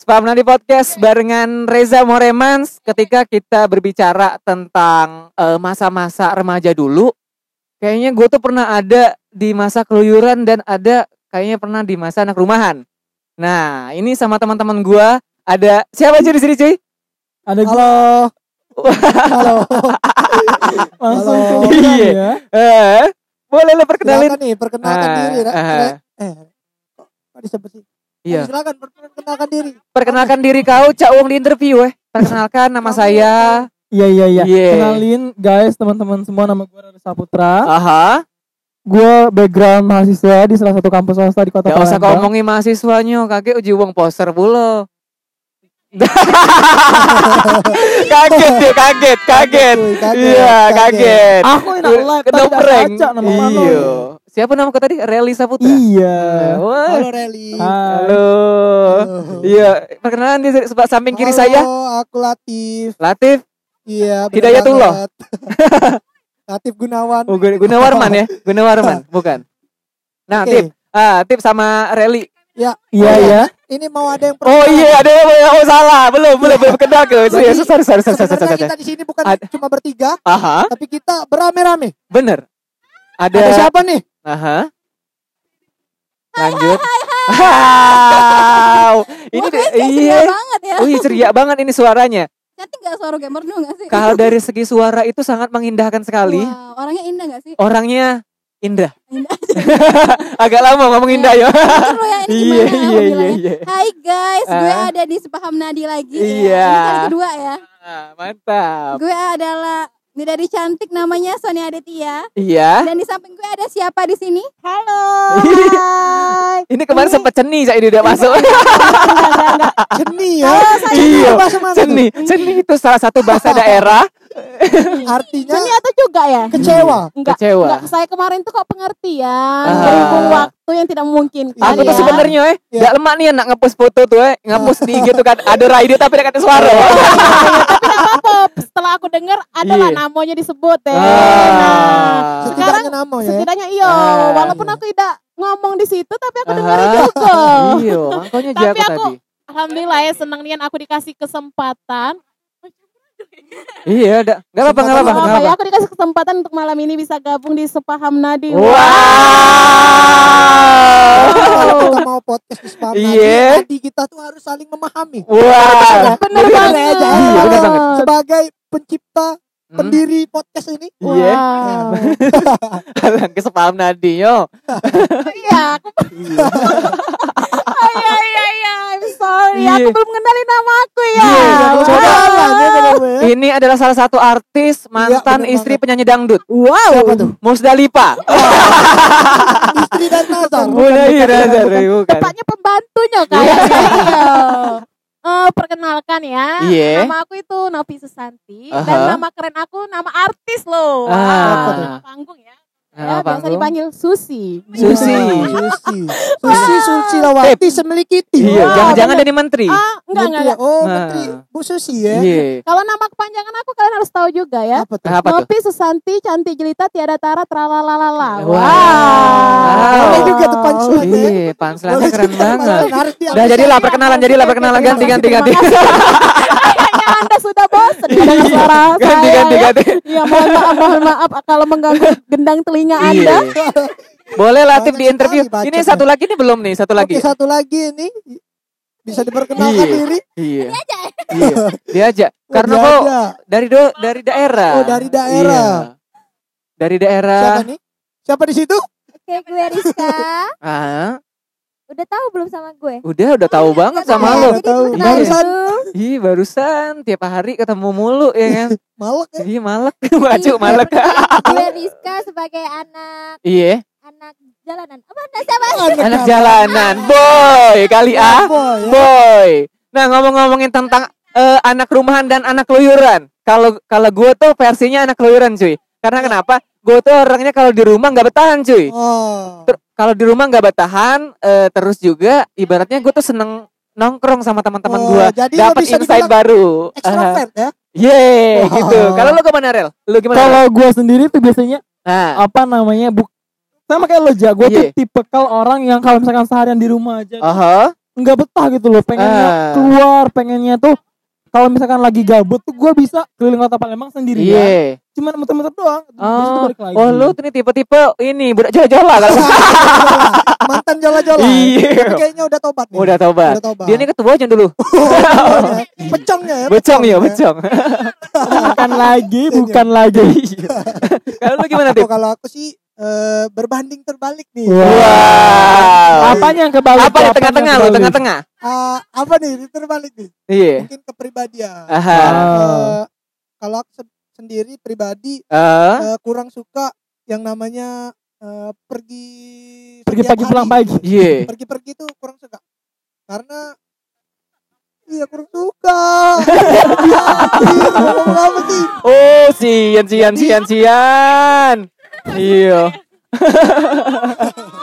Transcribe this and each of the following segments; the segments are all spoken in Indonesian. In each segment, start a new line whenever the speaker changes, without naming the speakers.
Selamat di podcast barengan Reza Moremans ketika kita berbicara tentang eh, masa-masa remaja dulu. Kayaknya gue tuh pernah ada di masa keluyuran dan ada kayaknya pernah di masa anak rumahan. Nah, ini sama teman-teman gue ada siapa cuy di sini cuy?
Ada gua.
Halo. Halo.
Langsung
Halo.
kelihatan
Iya.
ya.
Eh, boleh lo perkenalin?
Silakan nih, perkenalkan
Ah,
diri. Ra-
ah.
Ra- eh, kok nggak disebut sih?
Iya. Eh.
Silakan perkenalkan diri.
Perkenalkan diri kau, Cak Wong di interview eh. Perkenalkan nama
Kamu
saya.
Iya iya iya.
Iya.
Kenalin guys teman-teman semua nama gue Rara Saputra.
Aha,
Gue background mahasiswa di salah satu kampus swasta di Kota
gak usah kau
Palembang.
ngomongin mahasiswanya, kakek uji uang poster pula. kaget deh, kaget, kaget.
Cuy, kaget,
Iya, kaget.
Aku ini live Ah, tadi udah
Kedopreng.
baca nama mana.
Iya. Siapa nama kau tadi? Reli Saputra.
Iya.
Wah.
Halo Reli.
Ah,
Hai.
Halo.
Halo.
Iya, perkenalan di sebelah samping kiri saya
Halo, aku Latif.
Latif
Iya, bener
Hidayatullah.
banget. Latif Gunawan.
Oh, Gun- Gunawarman ya, Gunawarman, bukan. Nah,
Oke.
Tip, ah, Tip sama Reli.
Iya
Halo.
ya.
Ini mau ada yang
Oh
perkenalan.
iya, ada yang oh salah, belum belum belum kenal ke.
Jadi,
Sorry, sorry, sorry, sorry, sorry,
Sebenarnya
sorry.
kita di sini bukan
Ad-
cuma bertiga,
Aha,
tapi kita beramai-ramai.
bener. Ada,
Ada siapa nih?
Aha. Lanjut. Wow, Iya, ini
Wah, kayak
iya.
ceria banget ya.
Oh iya ceria banget ini suaranya.
Cantik gak suara gamer dulu gak sih?
Kalau dari segi suara itu sangat mengindahkan sekali.
Wow, orangnya indah gak sih?
Orangnya indah.
Indah.
Agak lama ngomong indah ya.
Jujur lo ya, ini gimana
Iya
aku
iya iya
bilangnya.
iya.
Hai guys, gue
Ah.
ada di Sepaham Nadi lagi. ya.
Iya.
Ini kali kedua ya.
Ah, Mantap.
Gue adalah ini dari cantik namanya Sonia Aditya
Iya.
dan di samping gue ada siapa di sini? Halo.
Ini kemarin sempat ceni saya tidak masuk.
Seni ya.
Ah, Iya.
Bahasa mana tuh?
Ceni, ceni itu salah satu bahasa daerah
Artinya
Seni atau juga ya?
kecewa.
Ah.
Enggak.
kecewa.
Enggak, saya kemarin tuh kok
ya.
pengertian,
Ah.
berhubung waktu yang tidak memungkinkan
Aku tuh
ya.
sebenarnya eh
Iya.
gak lemak nih nak ngepus foto tuh eh ngepus di gitu kan ada ide tapi dekat suara.
Apa, setelah aku dengar adalah
Iya.
namanya disebut
Ah.
ya. Nah,
Setidaknya nama ya.
setidaknya iya,
Ah.
walaupun aku tidak ngomong di situ tapi aku dengerin
Ah.
juga.
Iya, makanya
Tapi
jago
aku-
tadi.
Alhamdulillah ya senang nian aku dikasih kesempatan.
Iya, ada. Enggak apa-apa, enggak apa-apa,
Apa
enggak
ya,
apa-apa.
aku dikasih kesempatan untuk malam ini bisa gabung di Sepaham Nadi.
Wow.
Kalau kita mau podcast di spam
Oh. Iya.
tadi, tadi kita tuh harus saling memahami.
Wow.
Bener
Bener
banget.
aja.
Iya, bener banget.
Sebagai pencipta,
Hmm.
pendiri podcast ini.
Iya,
Wow.
Alang ke sepaham nadi yo.
Iya, aku Iya iya iya, I'm sorry.
Iya.
Aku belum kenalin nama aku ya.
Iya,
Wow.
Coba lah, dia coba ya.
Ini adalah salah satu artis mantan
bener
istri penyanyi dangdut. Iya, Wow. Oh,
Siapa tuh?
Musdalipa.
Istri dan Nazar.
Mulai kan? Nazar, bukan.
Tepatnya pembantunya kayaknya. Iya. Eh, perkenalkan ya.
Iya.
Nama aku itu Novi Susanti
Aha.
dan nama keren aku nama artis loh.
Ah.
Wah,
Apa tuh?
nama panggung ya.
Nama
Saya biasa
panggung.
dipanggil Susi.
Susi.
Susi. Susi Susilawati Semelikiti.
Iya,
Wow,
jangan-jangan dari menteri.
Ah, enggak enggak.
Menteri ya.
enggak.
Oh,
Nah.
Menteri Bu Susi ya.
Iya. Nah,
Kalau nama kepanjangan aku kalian harus tahu juga ya.
Apa tuh?
Apa tuh?
Novi Susanti cantik jelita tiada tara tralalalala.
Wow.
Boleh juga tuh punchline ya.
Iya, panselannya
Boleh
keren
juga,
banget.
Mas. Harus
Udah
diambil.
jadilah perkenalan, jadilah perkenalan ganti ganti ganti. Iya,
Kayaknya Anda sudah bosan dengan suara saya.
Ganti ganti
ya.
ganti.
Iya, mohon maaf, mohon maaf kalau mengganggu gendang telinga Anda.
Iya. Boleh Latif
Banyak
di interview.
sekali
Ini
bacotnya.
satu lagi ini belum nih, satu
Oke,
lagi.
satu lagi ini bisa diperkenalkan
Iya.
diri.
Iya. Iya. Diajak.
Oh,
Karena
dia
kok
ada.
dari do, dari daerah.
Oh, dari daerah.
Iya. Dari daerah.
siapa nih? Siapa di situ?
Oke, gue Rizka.
Ah,
Udah tahu belum sama gue?
udah udah tahu banget sama
Iya,
lo.
udah tahu.
Iya.
Barusan
Ih, barusan tiap hari ketemu mulu ya kan.
malek ya.
Ih, malek. Wacu malek.
Gue Rizka sebagai anak
Iya,
anak jalanan. Apa anak siapa?
anak jalanan. Boy, kali ah.
Boy, ya.
Boy. Nah, ngomong-ngomongin tentang eh, anak rumahan dan anak keluyuran. Kalau kalau gue tuh versinya anak keluyuran, cuy. Karena kenapa? Gue tuh orangnya kalau di rumah nggak bertahan, cuy.
Oh.
Ter- kalau di rumah nggak bertahan, eh, terus juga ibaratnya gue tuh seneng nongkrong sama teman-teman
Oh,
gue,
jadi lo
dapat
bisa
insight
dibilang
baru. Aha.
Extrovert ya.
Yeay,
Wah.
gitu. Kalau lu gimana, Rel? Lu gimana? Rel?
Kalau Oh. gue sendiri tuh biasanya
Nah,
apa namanya bu sama kayak lo ja gue
Iya.
tuh tipikal orang yang kalau misalkan seharian di rumah aja
aha.
nggak betah gitu loh pengennya
Ah.
keluar pengennya tuh kalau misalkan lagi gabut tuh gue bisa keliling kota Palembang sendirian
Iya.
cuman muter-muter doang ya. terus itu
Oh,
balik lagi
oh lu tuh nih tipe-tipe ini budak jola-jola kalau
Mantan jola-jola.
Iya.
Tapi kayaknya udah tobat nih.
udah tobat.
Udah tobat. Oh,
Dia ini ketua aja dulu.
Pecongnya ya.
Becong ya, becong.
bukan lagi bukan lagi
Kalau Kan lu gimana,
Oh,
Tip?
kalau aku sih eh, berbanding terbalik nih.
Wow.
apanya yang kebalik
Apa
tuh?
di
Apanya
tengah-tengah
yang
lu,
kebalik?
tengah-tengah?
Eh, apa nih terbalik nih?
Iya.
Mungkin kepribadian.
Aha.
Ah.
Eh, kalau aku se- sendiri pribadi
Eh,
eh, kurang suka yang namanya eh, pergi
pergi
setiap
pagi
hari.
pulang pagi
Iya.
pergi-pergi tuh kurang suka karena iya kurang suka ya, anjir, ngomong apa sih
Oh, sian sian sian sian. Iya.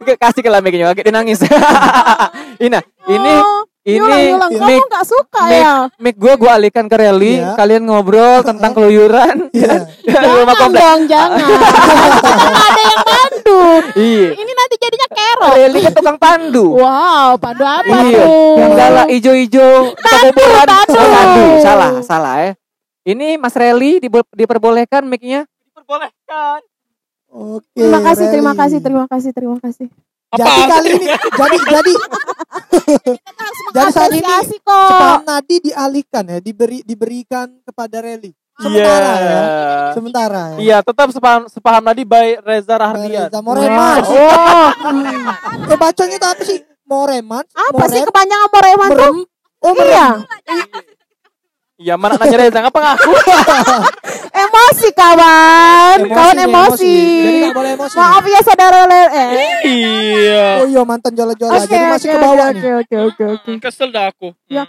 Ke- Kasih ke lah mic-nya, oke dia nangis. Ina, ini
Oh,
ini
Yulang, yulang.
mic
kamu nggak suka
Mik-
ya?
mic gue gue alihkan ke Reli,
Iya.
kalian ngobrol tentang keluyuran
Iya.
di rumah
Jangan
komplek.
dong, jangan. Kan ada yang pandu.
Iya.
Ini nanti jadinya kerok.
Reli kan tukang pandu.
Wow, pandu apa
Iya,
tuh?
Yang gala ijo-ijo kebobolan.
tandu.
Oh, tandu. Salah, salah ya. Ini Mas Reli dibo- diperbolehkan mic-nya?
diperbolehkan
oke
Terima kasih, terima
Rally.
kasih, terima kasih, terima kasih.
jadi kali ini jadi jadi Jadi saat ini,
Apresiasi kok.
Pak Nadi dialihkan ya diberi diberikan kepada Reli sementara ya sementara ya
Iya, tetap sepaham, sepaham tadi by Reza Rahardian.
Reza Moreman
Oh,
eh bacanya tuh apa sih Moreman
apa sih
Morem-
kepanjangan Moreman tuh?
Merem. Oh, merem.
Iya,
Iya, mana nanya Reza ngapa ngaku?
emosi
Emosi
kawan, Kan kawan
nih,
emosi.
Jadi nggak boleh emosi.
Maaf ya saudara Lel. Eh,
Oh iya mantan jola-jola.
oke,
Iya, Jadi
oke,
masih ke bawah
oke,
nih. Hmm.
oke, oke, oke, oke.
Kesel dah aku.
Ya,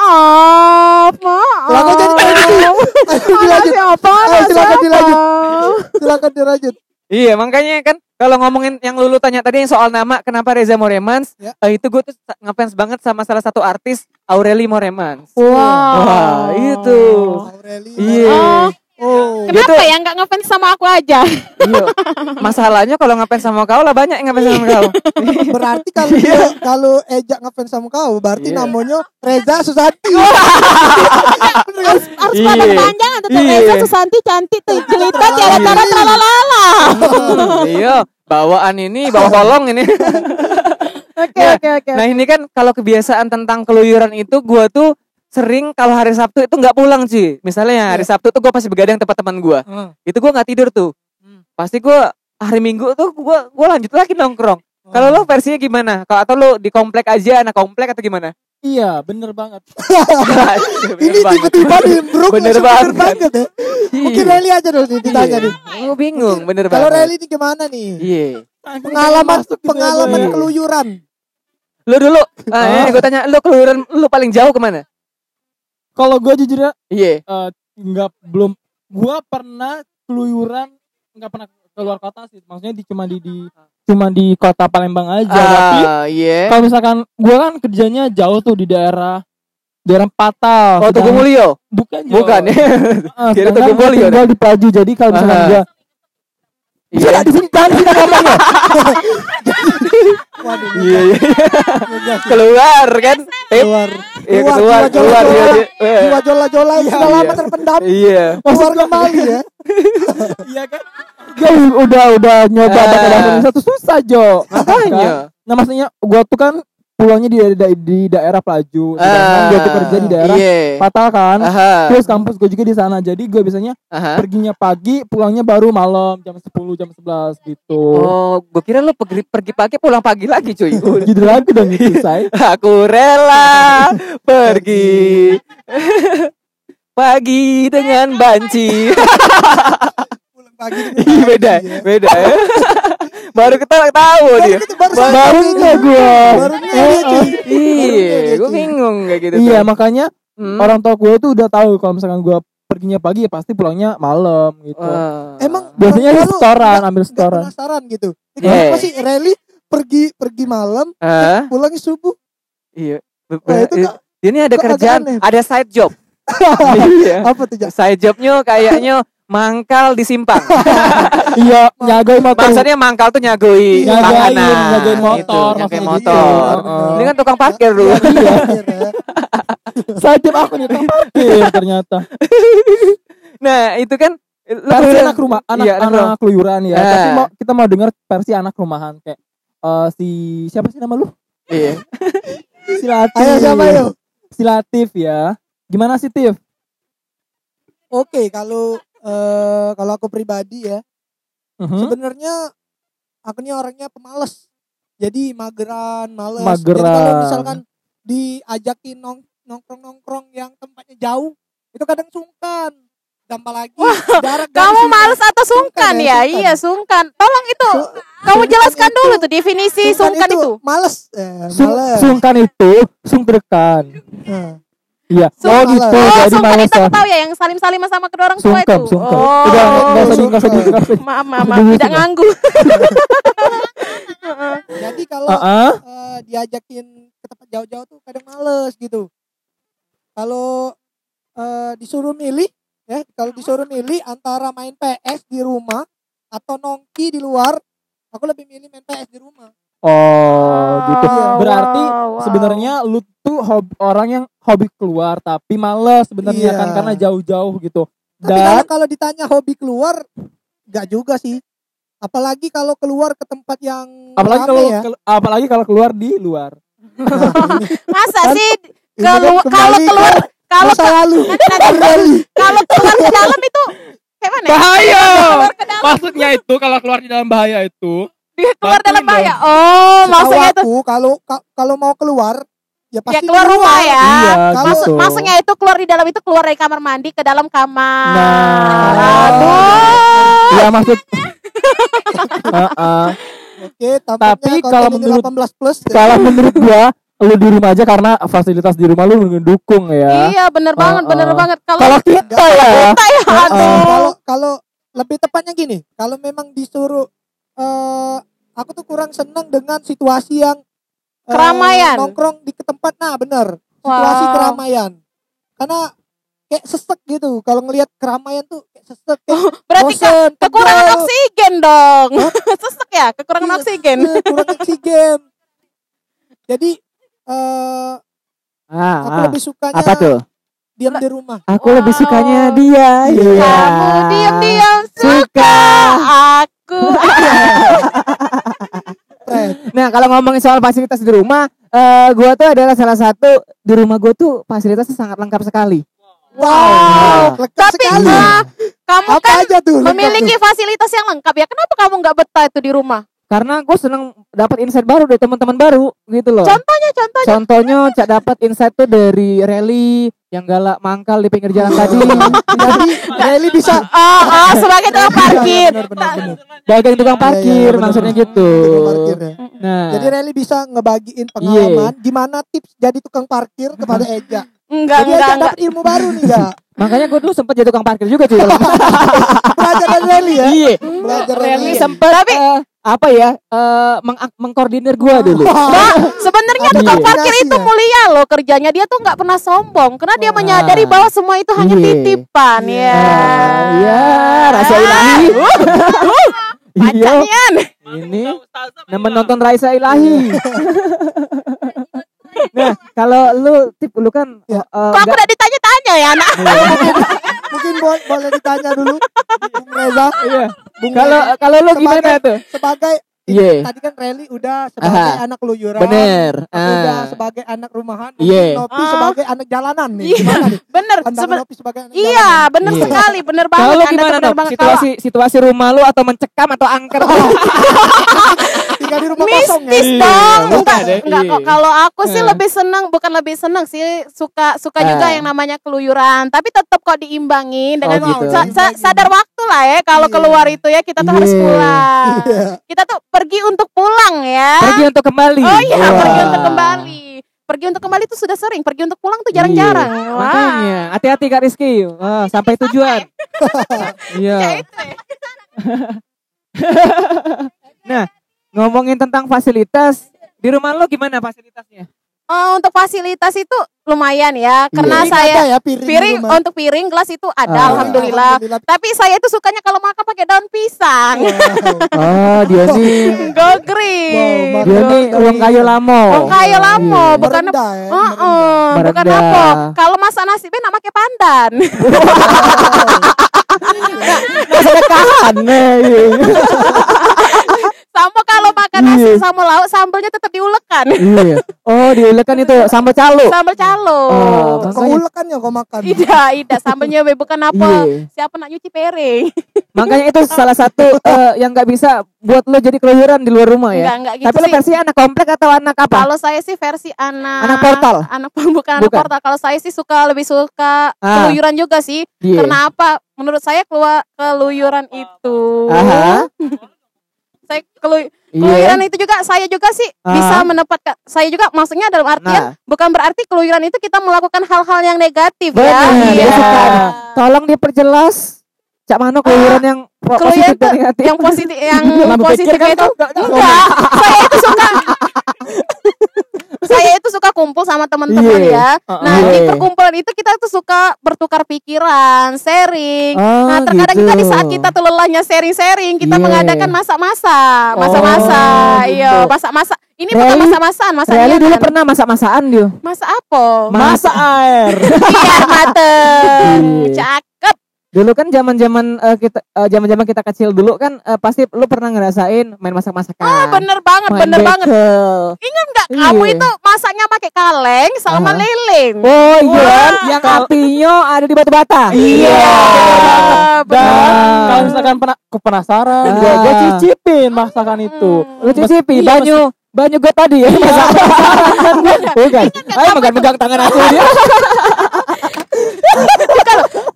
maaf, maaf.
Lah, kok jadi kayak Ayo dilanjut.
apa?
Ayo, Eh, silakan
Siapa?
dilanjut. Silakan dilanjut.
Iya makanya kan kalau ngomongin yang lulu tanya tadi yang soal nama kenapa Reza Moremans
Ya.
eh, itu gue tuh sa- ngefans banget sama salah satu artis Aureli Moremans.
Wow.
Wah,
iya.
itu.
Aureli.
Iya.
Oh,
Oh.
kenapa ya nggak ngefans sama aku aja?
Iya. Masalahnya kalau ngefans sama kau lah banyak yang ngefans sama kau.
Berarti
Iya.
kalau dia kalau Eja ngefans sama kau, berarti
Iya.
namanya Reza Susanti.
Iya.
Bener kan?
Harus
Iya.
pada panjangan tetap
Iya.
Reza Susanti cantik tuh jelita tiada tiada
Iya.
tralalala.
iya, bawaan ini bawa kolong ini.
Oke
Nah,
oke oke.
Nah ini kan kalau kebiasaan tentang keluyuran itu gue tuh sering kalau hari Sabtu itu nggak pulang sih. Misalnya hari Sabtu tuh gue pasti begadang tempat teman gue.
Iya. Hmm.
Itu gue nggak tidur tuh. Pasti gue hari Minggu tuh gue gue lanjut lagi nongkrong. Kalau
Hmm.
lo versinya gimana? Kalau atau lo di komplek aja anak komplek atau gimana?
Iya, bener banget.
ini tiba-tiba di Brook
Bener
langsung
banget. Iya.
bener banget ya. Mungkin Reli aja dulu nih ditanya nih.
Gue bingung bener
Kalau
banget.
Reli ini gimana nih?
Iya.
Pengalaman
Masuk gitu ya,
pengalaman
Bang.
keluyuran.
Lo dulu. Ah, gue tanya lo keluyuran lo paling jauh kemana?
Kalau gue jujur ya,
Iya.
nggak belum. Gue pernah keluyuran, nggak pernah keluar kota sih. Maksudnya di cuma di, di cuma di kota Palembang aja. Tapi
Ah, iya.
kalau misalkan gue kan kerjanya jauh tuh di daerah daerah Patal.
Oh, Tugu
Sedang-
Mulyo?
Bukan. Jo.
Bukan ya?
Ah,
Kira Tugu
sedangkan gua
Mulyo,
tinggal di Pelaju. Jadi kalau misalkan
Ah.
gue
Iya.
di sini jangan di sini ngomongnya.
Waduh.
Iya, iya. keluar kan? Eh,
Keluar.
iya
Keluar,
keluar,
jiwa
keluar,
jola-jola.
iya, iya, iya.
Jiwa jola-jola yang sudah
Iya.
lama terpendam
Iya.
keluar kembali ya.
Iya kan? Gue udah udah nyoba
Ah. Iya.
bahasa Indonesia tuh susah Jo.
Makanya.
Nah maksudnya gua tuh kan pulangnya di, di, di daerah Pelaju, sedangkan gua tuh kerja di daerah
Ah. Iya.
Patal kan.
Aha.
Terus kampus gue juga di sana. Jadi gue biasanya
Aha.
perginya pagi, pulangnya baru malam jam 10, jam 11 gitu.
Oh, gue kira lu pergi, pergi pagi pulang pagi lagi cuy.
Gitu lagu dong itu, say.
Aku rela pergi pagi dengan banci.
Pulang pagi. iya.
Ih, Iya, beda, beda. ya. Baru kita tahu
Baru
dia.
kita- baru sadar
Baru
dia,
nggak
cuy.
gue.
Baru nggak dia, cuy.
Iya, gue Iya, bingung kayak gitu.
Iya,
tuh.
makanya
Hmm.
orang tua gue tuh udah tahu kalau misalkan gue perginya pagi ya pasti pulangnya malam gitu.
Wah.
Emang
Biasanya
orang tua lu
restoran,
nggak-
ambil
nggak
restoran.
penasaran gitu. Ini
Yeah.
Kenapa sih Rally pergi pergi malam,
Hah?
pulangnya subuh?
Eh, Iya. Ber-
Nah, itu
ber-
nggak-
Ini ada
Kok agak
kerjaan,
aneh?
ada side job. iya.
apa tuh? Ja?
Side jobnya kayaknya mangkal di simpang.
Iya, nyagain motor.
Maksudnya mangkal tuh nyagoi
Nyagain,
panganan.
nyagain motor,
Gitu, nyagain
maksudnya
motor.
gitu.
Heeh. Ini kan tukang parkir dulu.
Saya tip Iya. aku nih tukang parkir ternyata.
Nah, itu kan lu
Versi
keluyuran.
anak rumah, anak
Iya, anak
anak, keluyuran ya.
Eh.
Tapi mau kita mau dengar versi anak rumahan kayak eh, si siapa sih nama lu?
Iya.
Si Latif.
Ayo siapa yuk?
Si Latif ya. Gimana sih Tif?
Oke, kalau eh kalau aku pribadi ya,
Mhm.
sebenarnya aku ini orangnya pemalas. Jadi mageran, males. Jadi
Mageran.
kalau misalkan diajakin nong nongkrong-nongkrong yang tempatnya jauh, itu kadang sungkan. Tambah lagi jarak dari sini.
Kamu males atau
Sungkan
sungkan
ya,
ya?
sungkan.
Iya sungkan. Tolong itu
Su-
kamu
sungkan
jelaskan
itu-
dulu tuh definisi sungkan, itu.
Males. Eh,
Sung-
males.
sungkan itu sung terdekan.
Nah,
Iya.
Sung-
oh gitu.
Oh,
Oh
jadi
sungkan
males
itu
ya.
aku tahu ya yang salim-salim sama kedua orang tua
Sungkem,
itu.
sungkem.
Oh.
Udah enggak usah di- nggak usah di-
Sungkem.
nggak usah di-
Maaf, maaf, maaf.
gitu
Dulu
Tidak
sih,
nganggu. Ah,
Jadi kalau
Heeh.
eh, diajakin ke tempat jauh-jauh tuh kadang males gitu. Kalau eh, disuruh milih, ya kalau disuruh milih antara main PS di rumah atau nongki di luar, aku lebih milih main PS di rumah.
Oh, gitu.
Wow,
Berarti
wow.
sebenarnya lu tuh hob- orang yang hobi keluar tapi males sebenarnya
Iya.
kan karena jauh-jauh gitu.
Tapi kan
Dan
kalau kalau ditanya hobi keluar, nggak juga sih. Apalagi kalau keluar ke tempat yang
apalagi
rame
kalau
ya.
kel- apalagi kalau keluar di luar.
masa
Kan-
sih
Ini kan
kalau
kembali
kalau
ke
keluar kalau
masa lalu
nanti nanti
kembali.
kalau keluar ke dalam itu kayak mana? ya?
Bahaya.
Keluar ke dalam,
Maksudnya itu kalau keluar di dalam bahaya itu
dia keluar
Bantuin
dalam
dong.
bahaya. Oh,
Setahu
maksudnya itu
aku kalau ka- kalau mau keluar ya
ya
pasti
keluar
di
rumah ya.
Iya,
kalau-
Maksud,
gitu.
maksudnya itu keluar di dalam itu keluar dari kamar mandi ke dalam kamar.
Nah.
Aduh.
Ya maksud Heeh.
Oke,
Tapi kalau menurut-
18 plus
Kalau menurut gua lu di rumah aja karena fasilitas di rumah lu mendukung ya.
Iya, bener banget,
Ah,
bener
Uh-uh.
banget. Kalau
Kalau kita ya
saya aduh.
kalau kalau lebih tepatnya gini, kalau memang disuruh eh aku tuh kurang senang dengan situasi yang eh,
Keramaian.
nongkrong di ke tempat nah benar, situasi
Wow.
keramaian. Karena kayak sesek gitu kalau ngelihat keramaian tuh kayak sesek kayak
Berarti ke-
bosen,
kekurangan
pegel.
oksigen dong. Sesek ya, kekurangan
Iya,
oksigen.
iya, kurang oksigen. Jadi eh
Ah,
aku
ah.
lebih sukanya
Apa tuh?
diam di rumah.
Aku lebih sukanya dia.
Iya.
Iya.
Kamu diam-diam
suka.
aku.
Friend.
Nah, kalau ngomongin soal fasilitas di rumah, eh gua tuh adalah salah satu di rumah gua tuh fasilitasnya sangat lengkap sekali.
Wow.
Lengkap
Oh, Tapi
sekali.
eh, kamu
apa
kan
aja tuh? lengkap
memiliki fasilitas yang lengkap ya. Kenapa kamu nggak betah itu di rumah?
Karena gue seneng dapat insight baru dari teman-teman baru gitu
Oh.
loh.
Contohnya, contohnya.
Contohnya cak dapat insight tuh dari rally yang galak mangkal di pinggir jalan tadi.
tuh. Jadi Nelly bisa
Oh, oh, sebagai tukang parkir.
Benar, benar, benar.
Dagang tukang parkir
Iya, iya, bener.
maksudnya gitu.
Tukang parkir ya.
Hmm.
Nah,
Jadi Nelly bisa ngebagiin
Iya.
pengalaman gimana tips jadi tukang parkir kepada Eja.
Hmm. Enggak,
Jadi
enggak,
Eja
enggak.
dapat ilmu baru nih ya.
makanya gue dulu sempat jadi tukang parkir juga cuy.
Iya. Belajar dari Nelly ya.
Iya.
Belajar dari
Rally
Nelly.
sempat
Tapi-
eh, apa ya? eh, meng- mengkoordinir gue dulu.
Bang, sebenarnya
Ada
tukang
iya.
parkir itu
Koordinasi ya?
mulia loh kerjanya. Dia tuh nggak pernah sombong karena dia
Wah.
menyadari bahwa semua itu hanya
Iya.
titipan
Iya.
ya.
Ah, Iya, rasa ilahi. Iya,
Pacarnya.
ini nemen nonton Raisa Ilahi. nah, kalau lu tip lu kan
Ya.
eh,
Kok aku
nggak-
udah ditanya-tanya ya anak?
Iya. Mungkin bo- boleh ditanya dulu Bung Reza.
Iya.
Bung
kalau
Reza
kalau lu gimana
Sebagai-
tuh?
sebagai
Iya.
tadi kan Rally udah sebagai
Aha.
anak keluyuran.
Bener.
Aku udah
Ah.
sebagai anak rumahan,
Iya.
mungkin Nopi
Nah. Ah.
sebagai anak jalanan nih.
Iya.
Gimana nih?
Bener.
Pandangan
seben-
Nopi sebagai anak jalanan.
Iya, bener
Iya.
sekali, bener banget. ya,
Kalau lu
Anda
gimana
tuh bener
tuh?
banget.
Situasi situasi rumah lu atau mencekam atau angker?
Tinggal di rumah
Kalau
kosong ya.
mistis
Iya, bukan
dong. Enggak,
deh,
enggak
iya.
kok. Kalau aku sih
Eh.
lebih senang, bukan lebih senang sih suka suka juga
Eh.
yang namanya keluyuran, tapi tetap kok diimbangin dengan
gitu.
sa- sa- sadar waktu lah ya kalau
Iya.
keluar itu ya kita tuh harus
Iya.
pulang.
Iya.
Kita tuh pergi untuk pulang ya.
Pergi untuk kembali.
Oh iya,
Wah.
pergi untuk kembali. Pergi untuk kembali tuh sudah sering, pergi untuk pulang tuh jarang-jarang.
Iya,
Wah.
Makanya, hati-hati Kak Rizky. Wah, sampai tujuan.
Ya
Iya.
itu ya.
Ngomongin tentang fasilitas, di rumah lu gimana fasilitasnya?
eh, untuk fasilitas itu lumayan
Iya.
ya karena
Piring
saya
ada ya, piring, di rumah.
piring
Iya.
untuk piring gelas itu ada
Ah.
alhamdulillah.
Alhamdulillah.
Tapi saya itu sukanya kalau makan pakai daun pisang.
Wow.
Oh, dia nih,
Go
Wow,
green.
dia nih uang kayu lamo.
Wong kayu Oh,
Iya.
lamo, bukan
Merendah ya,
Oh,
merendah.
oh, bukan
Merendah.
apa. Kalau masak nasi nak pakai pandan.
Sedekahan
Iya.
nih.
sama kalau makan nasi
Iya.
sama lauk sambalnya tetap diulekan.
Iya. Oh, diulekan itu sambal calo.
Sambal calo.
Oh, terus
Kau ulekan ya kau makan.
Tidak, tidak sambalnya be, bukan apa.
Iya.
Siapa nak nyuci piring?
Makanya itu salah satu eh, yang nggak bisa buat lo jadi keluyuran di luar rumah
Enggak,
ya.
enggak gitu
Tapi lo
sih.
versi anak komplek atau anak apa?
Kalau saya sih versi anak
Anak portal?
Anak bukan anak
Bukan. Ah.
portal. Kalau saya sih suka lebih suka keluyuran juga sih.
Iya.
Karena apa? Menurut saya keluar keluyuran itu.
Aha.
Saya kelu-
Iya.
keluyuran itu juga saya juga sih
Ah.
bisa menempatkan saya juga maksudnya dalam
Nah,
artian bukan berarti keluyuran itu kita melakukan hal-hal yang negatif
Benar,
ya.
dia suka. tolong diperjelas. Cak Mano keluyuran yang po-
Keluyuran
positif dan
tuh
negatif.
Ah. yang positif yang
Lama pikir
positifnya
kan
itu
kau nggak- nggak
enggak. saya itu suka saya itu suka kumpul sama teman-teman
Iya.
ya.
Uh-uh.
Nah, di
Iya.
perkumpulan itu kita tuh suka bertukar pikiran, sharing.
Oh,
Nah, terkadang
gitu.
juga di saat kita tuh lelahnya sharing-sharing, kita
Iya.
mengadakan masak-masak,
Oh,
masak-masak.
gitu. Nah,
Iya, masak-masak. Ini
Rally-
bukan masak-masakan, masak
Rally dulu
kan.
pernah masak-masakan dia.
Masak apa?
Masa air.
Iya, mateng.
Iya.
Cakep.
Dulu kan zaman-zaman eh, kita eh, zaman-zaman kita kecil dulu kan eh, pasti lu pernah ngerasain main masak-masakan.
Ah, bener banget,
Main
bener banget.
bekel.
Ingat nggak
Iya.
kamu itu masaknya pakai kaleng sama
Aha.
lilin?
Oh iya,
Wah.
yang apinya ada di batu bata.
Iya.
Dan
Nah.
kalau misalkan pernah kepenasaran,
Nah.
gua gua cicipin masakan itu.
Lu
Iya,
cicipi banyu banyu gue tadi ya. bukan.
Hmm.
Ayo pegang-pegang tangan aku dia.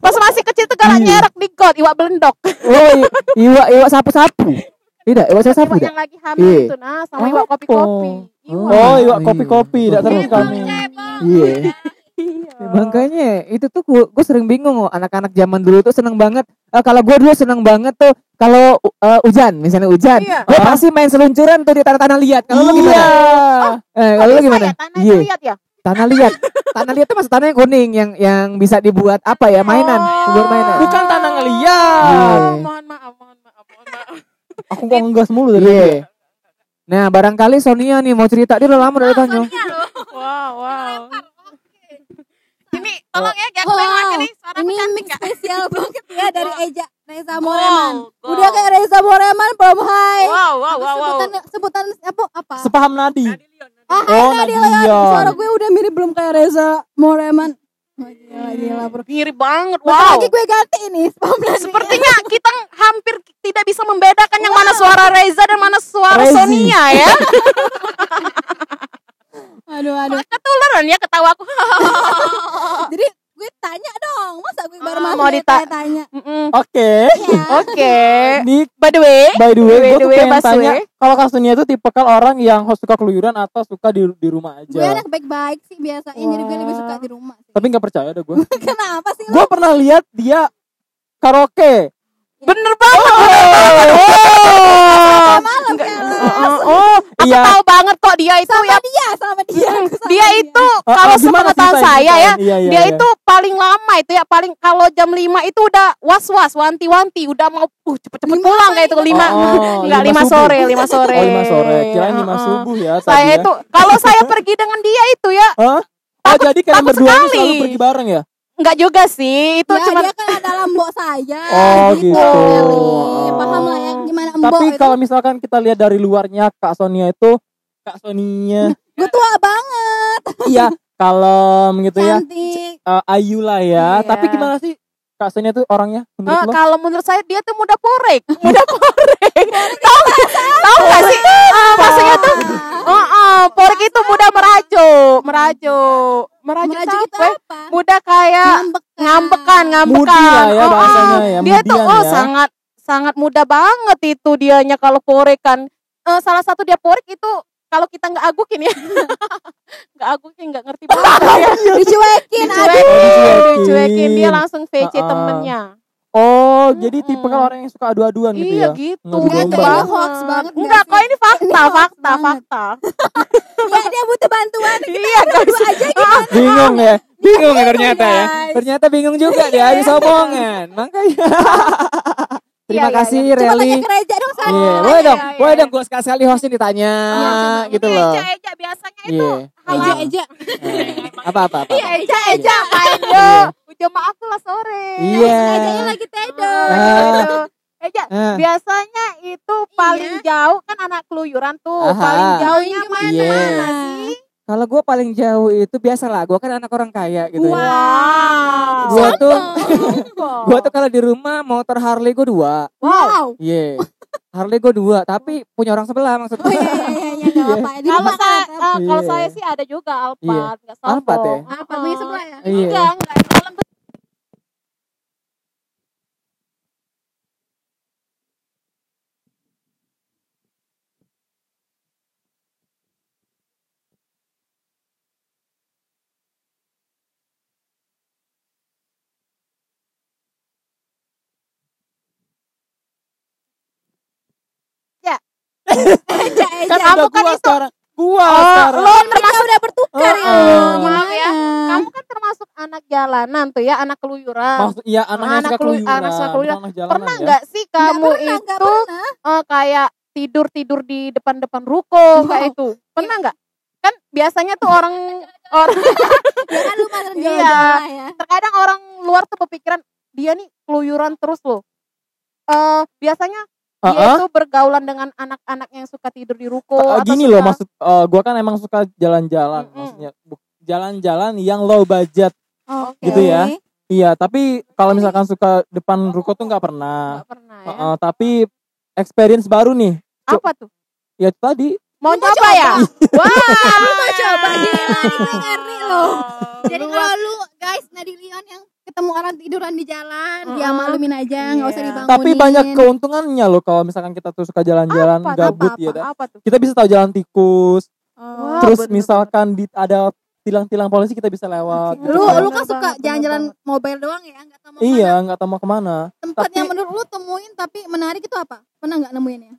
Pas masih kecil tuh galak
Iya.
nyerek di got, iwak belendok.
Oh, i- iwa iwa sapu-sapu. Tidak, iwa sapu
Iwak
tidak.
yang lagi hamil
Iya.
itu nah, sama iwak kopi-kopi. Iwak.
Oh, iya
Oh, iya.
kopi-kopi, tidak terus kan.
Kopi-kopi.
kami.
Hmm.
Iya. Makanya itu tuh gue, sering bingung loh anak-anak zaman dulu tuh seneng banget. Eh, kalau gue dulu seneng banget tuh kalau eh, hujan, misalnya hujan,
Iya.
gue pasti main seluncuran tuh di tanah-tanah liat. Kalau lu
Iya.
gimana? Eh, kalau lu gimana? Iya,
Lihat Oh, ya.
tanah liat. Tanah liat tuh maksud tanah yang kuning yang yang bisa dibuat apa ya mainan, dibuat mainan.
Bukan tanah ngeliat.
Iya.
Oh, mohon maaf, mohon maaf, mohon maaf.
Aku kok ngegas mulu dari
Iya. Nah, barangkali Sonia nih mau cerita dia udah lama dari tanya.
Wow, wow. Ini tolong ya, kayak aku yang makan nih suara
ini
pecah
mix spesial banget ya dari Eja Reza
Wow,
Moreman.
wow.
Udah kayak Reza Moreman belum hai.
Wow, wow, wow, wow.
Sebutan sebutan apa apa?
sepaham nadi.
Ah,
Oh,
Hai Nadia
Nadia.
Leon. Suara gue udah mirip belum kayak Reza Moreman. Oh,
Ya,
Gila, gila, bro.
Mirip banget,
Bentar
wow.
lagi gue ganti ini. spam Nadia.
Sepertinya kita hampir tidak bisa membedakan yang mana suara Reza dan mana suara
Rezi.
Sonia ya.
Aduh, aduh.
Ketularan ya ketawa aku.
Jadi gue tanya dong, masa gue baru
Ah,
masuk
mau
ya,
dita- Oh,
tanya.
Mm-mm.
Oke.
Ya.
Oke.
Nih,
By the way,
by the
Iya. By
way, gue
the
tuh
way,
pengen
Mas
tanya,
Wei.
kalau Kasunia itu tipe kan orang yang suka keluyuran atau suka di di rumah
Gue
aja?
anak baik-baik sih biasanya, jadi gue lebih suka di rumah. sih.
Tapi nggak percaya deh gue.
Kenapa sih lu?
gue pernah lihat dia karaoke.
bener banget.
Oh,
Malam ya lu.
oh, oh,
Aku
iya.
tahu banget kok dia itu
Sama Iya.
ya.
dia, sama dia. aku sama
Dia itu
Ah,
kalau
ah, gimana
sepengetahuan
ceritain,
saya ya,
ceritain. Iya, iya,
dia
iya.
itu paling lama itu ya paling kalau jam 5 itu udah was-was, wanti-wanti, udah mau uh cepet-cepet
Lima
pulang kayak itu
sore.
lima.
Oh,
Enggak lima
subuh.
sore, lima sore.
Oh, lima sore. Kirain lima
Heeh.
subuh ya. tadi
Saya
ya.
itu kalau saya pergi dengan dia itu ya
Hah? Oh, jadi kalian
takut
berdua ini
sekali.
selalu pergi bareng ya?
enggak juga sih, itu eh,
ya,
cuma
dia kan adalah mbok saya
Oh, gitu.
Eli. paham lah ya gimana mbok
Tapi
itu
kalau misalkan kita lihat dari luarnya Kak Sonia itu Kak Sonia
gue tua banget
iya kalem gitu ya.
cantik
Eh, ayu lah ya.
Iya.
Tapi gimana sih Kak Sonia tuh orangnya menurut
Ah,
lo?
kalau menurut saya dia tuh muda porek, muda porek. tahu tahu nggak sih? Ah, maksudnya tuh, oh, oh, porek itu muda merajuk, merajuk, merajuk
meraju itu
capek.
apa
Muda kayak
ngambekan
ngambekan,
Mudi
ngambekan.
lah ya
Oh,
bahasanya
oh.
ya.
Dia tuh
mudian
oh
ya.
sangat sangat muda banget itu dianya kalau porek kan. Eh, salah satu dia porek itu kalau kita nggak agukin ya, nggak agukin nggak ngerti banget ya.
dicuekin aduh
Dicuekin,
Dicuekin.
dicuekin dia langsung VC
Ah, ah.
temennya.
Oh, jadi
Mm-mm.
tipe orang yang suka adu-aduan gitu
iya
ya.
gitu.
Ngadu
Enggak,
Enggak,
itu
domba.
itu hoax banget.
enggak kok ini fakta,
Ini hoax
fakta,
banget.
fakta.
Ya dia butuh bantuan.
Iya, enggak bisa. kan
Bingung ya. Bingung
Iya,
ya ternyata ya.
guys.
Ternyata bingung
Iya,
juga dia habis omongan. Makanya. Terima
Iya, iya,
kasih
Coba
Reli.
tanya ke Reja dong sana.
Iya,
Reli.
boleh dong.
Iya, iya,
Boleh
iya.
dong gue sekali-sekali hostnya ditanya
Iya, coba.
gitu loh.
Eja, Eja biasanya itu.
Iya.
Eja, Eja.
Apa-apa apa.
Iya, Eja, Eja main
Iya.
yo. Jemaah kelas sore.
Iya.
Rejanya lagi tedo.
Ah.
Gitu. Eja,
Ah,
biasanya itu paling
Iya.
jauh kan anak keluyuran tuh,
Aha.
paling jauhnya
Main
mana
Iya.
sih?
Kalau gue paling jauh itu biasalah, gue kan anak orang kaya gitu ya.
Wow.
Gue tuh,
Iya.
Sombong.
gue tuh kalau di rumah motor Harley gue dua,
Wow.
Wow.
iya. Harley gue dua, tapi punya orang sebelah maksud
Oh
gue.
iya iya iya iya enggak apa-apa. Ini
Kalau
makanan,
saya, eh, kalau
Iya.
saya sih ada juga Alphard,
Iya.
nggak sombong.
Alphard ya?
Apa Apa, punya sebelah ya?
Iya.
Enggak, enggak. Dalam
Eja, Eja.
Kan
Iya,
udah
bukan
gua
itu.
sekarang. Gua
Oh,
sekarang.
lo
Kita
termasuk
udah bertukar
Oh,
ya.
oh.
Maaf ya.
Gimana?
kamu kan termasuk anak jalanan tuh ya, anak keluyuran.
Maksud iya anak, yang
Anak
suka
kelu-
keluyuran.
anak suka keluyuran.
bukan anak jalanan
pernah
ya.
nggak sih
Nggak
kamu
Iya, pernah, nggak
itu
pernah.
eh, kayak tidur tidur di depan depan ruko kayak itu? Pernah
Iya.
nggak? Kan biasanya tuh orang orang
Ya kan lu malam
Iya.
jalan-jalan ya.
terkadang orang luar tuh berpikiran dia nih keluyuran terus loh. Eh biasanya dia
Ah, ah.
itu bergaulan dengan anak-anak yang suka tidur di ruko.
Eh,
atau
gini
suka-
loh maksud eh, gua kan emang suka jalan-jalan
Oh, Mm-mm.
maksudnya bu- jalan-jalan yang low budget
Oke.
Gitu ya. Iya, tapi kalau misalkan suka depan ruko tuh nggak pernah.
Nggak pernah ya.
Heeh, tapi experience baru nih.
Apa tuh?
Ya tadi
Mau
Lu mau
coba, ya? Wah.
mau coba? Gila, ini gue ngeri loh. Jadi
Luar
kalau lu guys Nadilion yang ketemu orang tiduran di jalan,
Mm-mm.
dia malumin aja, nggak usah
Iya.
dibangunin.
tapi banyak keuntungannya loh kalau misalkan kita tuh suka jalan-jalan
apa,
gabut
apa,
ya.
apa,
dah.
apa tuh?
Kita bisa tahu jalan tikus.
Oh,
terus
bener,
misalkan di ada tilang-tilang polisi kita bisa lewat. gitu
Lu
kan.
lu kan suka
Bener banget, bener
jalan-jalan mobile doang ya, nggak tahu mau
iya, nggak tahu mau kemana.
mana. Tempat
tapi-
yang menurut lu temuin tapi menarik itu apa? Pernah nggak nemuin ya?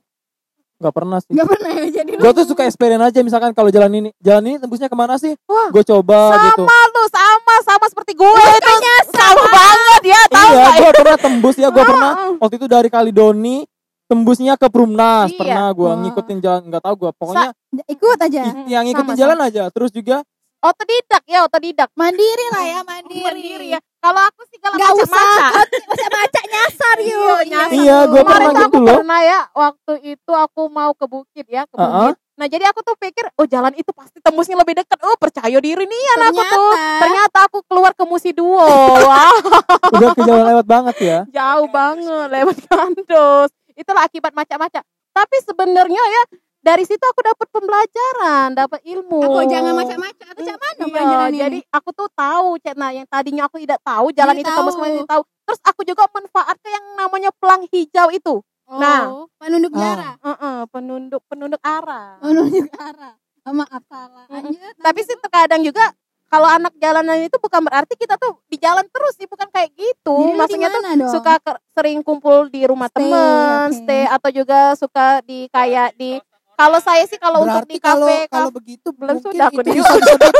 Nggak pernah sih.
Nggak pernah ya. Jadi
Gue tuh suka experience aja misalkan kalau jalan ini, jalan ini tembusnya kemana sih?
Wah.
Gue coba
sama
gitu.
tuh sama sama seperti gue itu sama banget ya tahu
Iya,
nggak
gue pernah tembus ya, gue pernah
Heeh.
waktu itu dari Kalidoni tembusnya ke Perumnas
Iya.
pernah gue
Wah.
ngikutin jalan nggak tahu gue pokoknya
ikut aja.
i- yang ngikutin
ya, hmm, sama,
jalan aja terus juga
otodidak ya otodidak
Mandiri lah ya, mandiri.
mandiri ya kalau aku sih kalau
Nggak usah
maca-maca
Baca baca nyasar yuk.
Iya, nyasar.
iya gue
Kemarin
pernah
tuh
gitu
aku
loh
pernah ya waktu itu aku mau ke bukit ya ke
Heeh.
bukit nah jadi aku tuh pikir oh jalan itu pasti tembusnya lebih dekat oh percaya diri nih
Iya
anak aku tuh
Ternyata.
ternyata aku keluar ke musi duo wah
udah ke jalan lewat banget ya
jauh banget lewat kandos itulah akibat macam-macam tapi sebenarnya ya dari situ aku dapat pembelajaran dapat ilmu
Aku jangan macam-macam. Aku
Hmm,
cak mana
Oh. Iya,
pelajaran ini?
jadi aku tuh tahu Cek. nah yang tadinya aku tidak tahu jalan
Jadi
itu kamu
tahu.
semua ini tahu terus aku juga manfaatkan yang namanya pelang hijau itu nah.
Oh, penunduk
Ah.
jarak.
Heeh, penunduk penunduk arah
menunjuk arah. Oh, maaf salah. Lanjut.
tapi sih terkadang juga kalau anak jalanan itu bukan berarti kita tuh di jalan terus sih bukan kayak gitu
Jadi lu
maksudnya tuh
Iya, gimana dong?
suka ke- sering kumpul di rumah
Stay,
teman
oke.
stay atau juga suka di kayak di kalau saya sih kalau untuk
Berarti
di
kalau
kafe
kalau
kafe-
begitu
Belum
mungkin
sudah aku
itu
nih.
bisa disebut,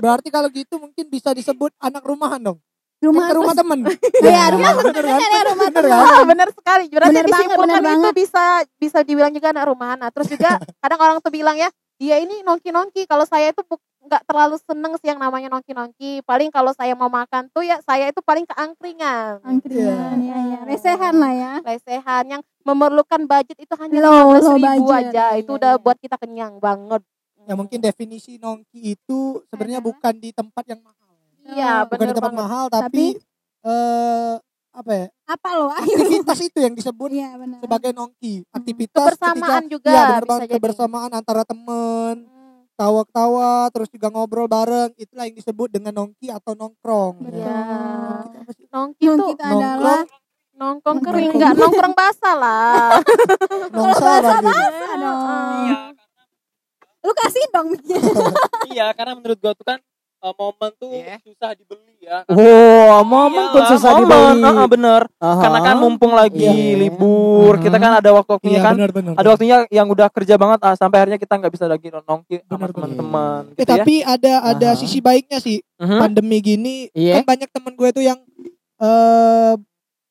Berarti kalau gitu mungkin bisa disebut anak rumahan dong.
rumah
Ke rumah temen.
Iya, rumah temen
Bener
kan ya, rumah
Bener
temen.
kan?
Ah, benar sekali. Berarti
Benar banget,
disimpulkan
benar
itu
banget.
bisa bisa dibilang juga anak rumahan. Nah, terus juga kadang orang tuh bilang ya, dia ini nongki-nongki. Kalau saya itu bu- nggak terlalu seneng sih yang namanya nongki-nongki. Paling kalau saya mau makan tuh ya saya itu paling keangkringan.
Angkringan ya, ya. Resehan lah ya.
Lesehan yang memerlukan budget itu hanya
Low-
15
low
ribu
budget.
aja.
Iya,
Itu
iya.
udah buat kita kenyang banget.
Ya mungkin definisi nongki itu sebenarnya bukan di tempat yang mahal.
Iya,
Bukan
benar
di tempat
banget.
mahal tapi eh apa ya?
Apa lo? Ayo.
Aktivitas itu yang disebut
Iya, benar.
sebagai nongki. Aktivitas ketika
Hmm. Kebersamaan juga
Iya, bener
bisa
banget.
jadi.
kebersamaan antara temen,
Hmm.
tawa-tawa, terus juga ngobrol bareng. Itulah yang disebut dengan nongki atau nongkrong.
Betul.
Iya.
Nongki apa sih?
Nongki
Yang
tuh
kita adalah
nongkrong kering
Nongkrong.
nggak nongkrong basah lah.
Nongsa lagi.
Iya
aduh. Lu kasih dong mic-nya.
iya karena menurut gue tuh kan eh, momen tuh
Iya.
susah dibeli ya.
Wow, momen pun
Iyalah,
susah
momen,
dibeli.
heeh, bener.
Aha.
Karena kan mumpung lagi
Iya.
libur, kita
Aha.
kan ada waktu-waktunya
Iya
kan.
benar benar.
Ada waktunya yang udah kerja banget ah, sampai akhirnya kita nggak bisa lagi nongki sama
Benar, benar.
teman-teman
Eh,
gitu ya.
tapi ada ada
Aha.
sisi baiknya sih
Mhm.
pandemi gini
Iya.
kan banyak temen gue tuh yang eh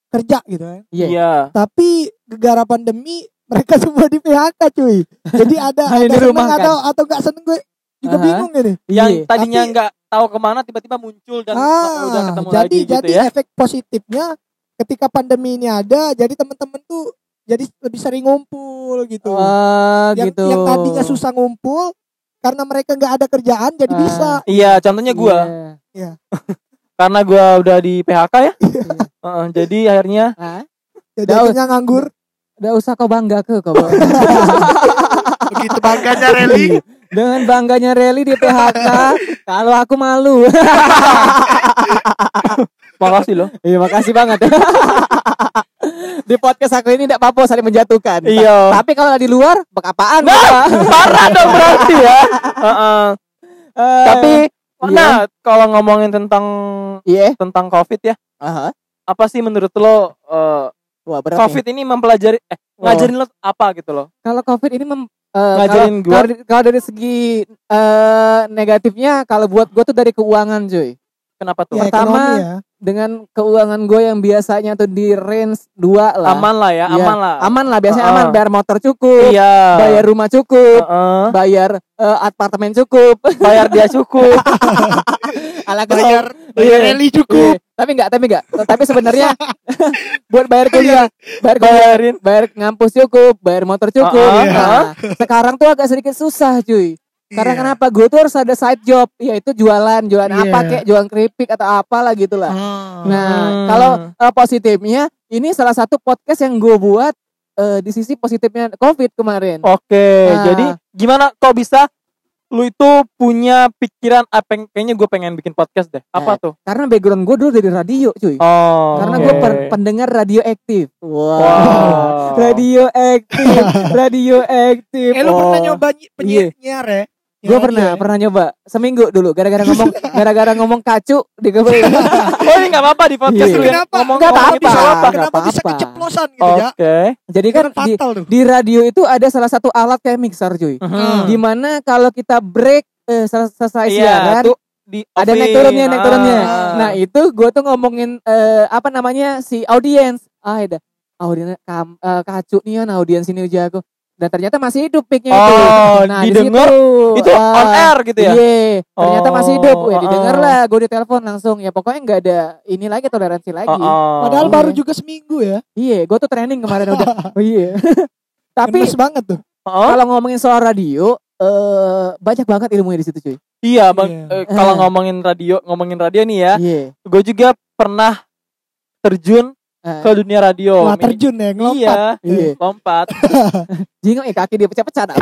kerja gitu ya.
Iya.
Iya.
Tapi gara pandemi mereka semua di PHK cuy. Jadi ada
Hanya
ada
di
seneng
rumah kan?
atau atau nggak seneng gue juga
Aha.
bingung ini.
Yang
Iya.
tadinya
Tapi-
nggak tahu kemana tiba-tiba muncul
Kan
dan
Ah,
udah ketemu
jadi
lagi
jadi
gitu ya.
efek positifnya ketika pandemi ini ada, jadi temen-temen tuh jadi lebih sering ngumpul gitu.
Wah, Ah,
yang,
gitu.
yang tadinya susah ngumpul karena mereka nggak ada kerjaan jadi
Ah.
bisa.
Iya, contohnya gua
Iya.
karena gua udah di PHK ya. Heeh, jadi akhirnya
Hah?
Jadi
Daud.
akhirnya nganggur.
Udah usah kau bangga ke kau. Bang.
Begitu bangganya Reli.
Iya. Dengan bangganya Reli di PHK, kalau aku malu.
makasih loh.
Iya, makasih banget. di podcast aku ini tidak apa-apa saling menjatuhkan.
iya. Nah!
Tapi kalau di luar, apaan?
Parah dong berarti ya. Heeh.
Eh,
Tapi
iya.
nah, kalau ngomongin tentang
iya.
tentang Covid ya,
Aha.
apa sih menurut lo eh,
Wah, berat nih.
Covid ini mempelajari eh
Oh.
ngajarin lo apa gitu loh?
Kalau Covid ini mem, eh, kalau-
Ngajarin gua.
kalau dari- Kalau dari segi eh, negatifnya, kalau buat gue tuh dari keuangan, cuy.
Kenapa tuh?
Ya,
Pertama,
ekonomi ya.
Dengan keuangan gue yang biasanya tuh di range 2 lah.
Aman lah ya,
Iya.
aman lah.
Aman lah, biasanya
Heeh.
aman. Bayar motor cukup,
Iya.
bayar rumah cukup,
Heeh.
bayar eh, apartemen cukup.
bayar dia cukup.
Ala
Bayar
Iya.
bayar Reli cukup.
Iya, tapi enggak, tapi enggak. Tapi sebenarnya buat bayar
Iya.
kuliah, bayar kuliah,
Bayarin
bayar ngampus cukup, bayar motor cukup.
Ah, ah.
Nah, sekarang tuh agak sedikit susah, cuy. Karena
Iya.
kenapa? Gue tuh harus ada side job, yaitu jualan, jualan
Iya.
apa kek, jualan keripik atau apalah gitu lah.
Ah.
Nah,
Hmm.
kalau eh, positifnya, ini salah satu podcast yang gue buat eh, di sisi positifnya COVID kemarin.
Oke,
Nah.
jadi gimana kok bisa lu itu punya pikiran ah, peng- kayaknya gue pengen bikin podcast deh. Apa tuh?
Karena background gue dulu dari radio, cuy.
Oh.
Eh. Karena
oke.
gue per- pendengar radioaktif. Wow.
Wow.
Radioaktif, radioaktif.
Eh lu
Wow.
pernah nyoba nyi- penyiar ya?
Gue Oh.
Iya,
pernah, pernah nyoba seminggu dulu. Gara-gara ngomong, gara-gara ngomong kacu di kepala.
Oh, ini enggak apa-apa di podcast
Iya.
lu ya.
Kenapa?
Nggak
Kenapa
apa-apa, Gitu
bisa-
nggak
Kenapa bisa
apa-apa.
keceplosan gitu
Oke.
ya?
Jadi
Kan
kan di,
fatal tuh.
di radio itu ada salah satu alat kayak mixer, cuy.
Mhm.
Dimana kalau kita break eh, sel- selesai siaran,
tuh di
ada naik
offin.
turunnya, naik
Ah.
turunnya. Nah itu gue tuh ngomongin eh, apa namanya si audiens. Ah ada audiens kam, eh, kacu nih kan audiens ini uja aku. Dan ternyata masih hidup picknya itu.
Oh,
Nah di situ,
didengar itu
ah,
on air gitu ya.
Iya, ternyata masih hidup. Ya,
Oh,
didengar
ah.
lah, gue ditelepon langsung. Ya pokoknya nggak ada ini lagi toleransi lagi.
Oh, oh.
Padahal
Iya.
baru juga seminggu ya.
Iya, gue tuh training kemarin udah. Oh, iya. Tapi
Gemes banget tuh.
Oh,
kalau ngomongin soal radio, eh banyak banget ilmunya di situ cuy.
iya, Bang.
Iya.
Eh, kalau ngomongin radio, ngomongin radio nih ya.
Iya.
Gue juga pernah terjun
Eh,
ke dunia radio.
Wah terjun ya
Oh, Iya,
ngelompat.
Iya.
lompat.
Jingo eh kaki dia pecah-pecah. nah.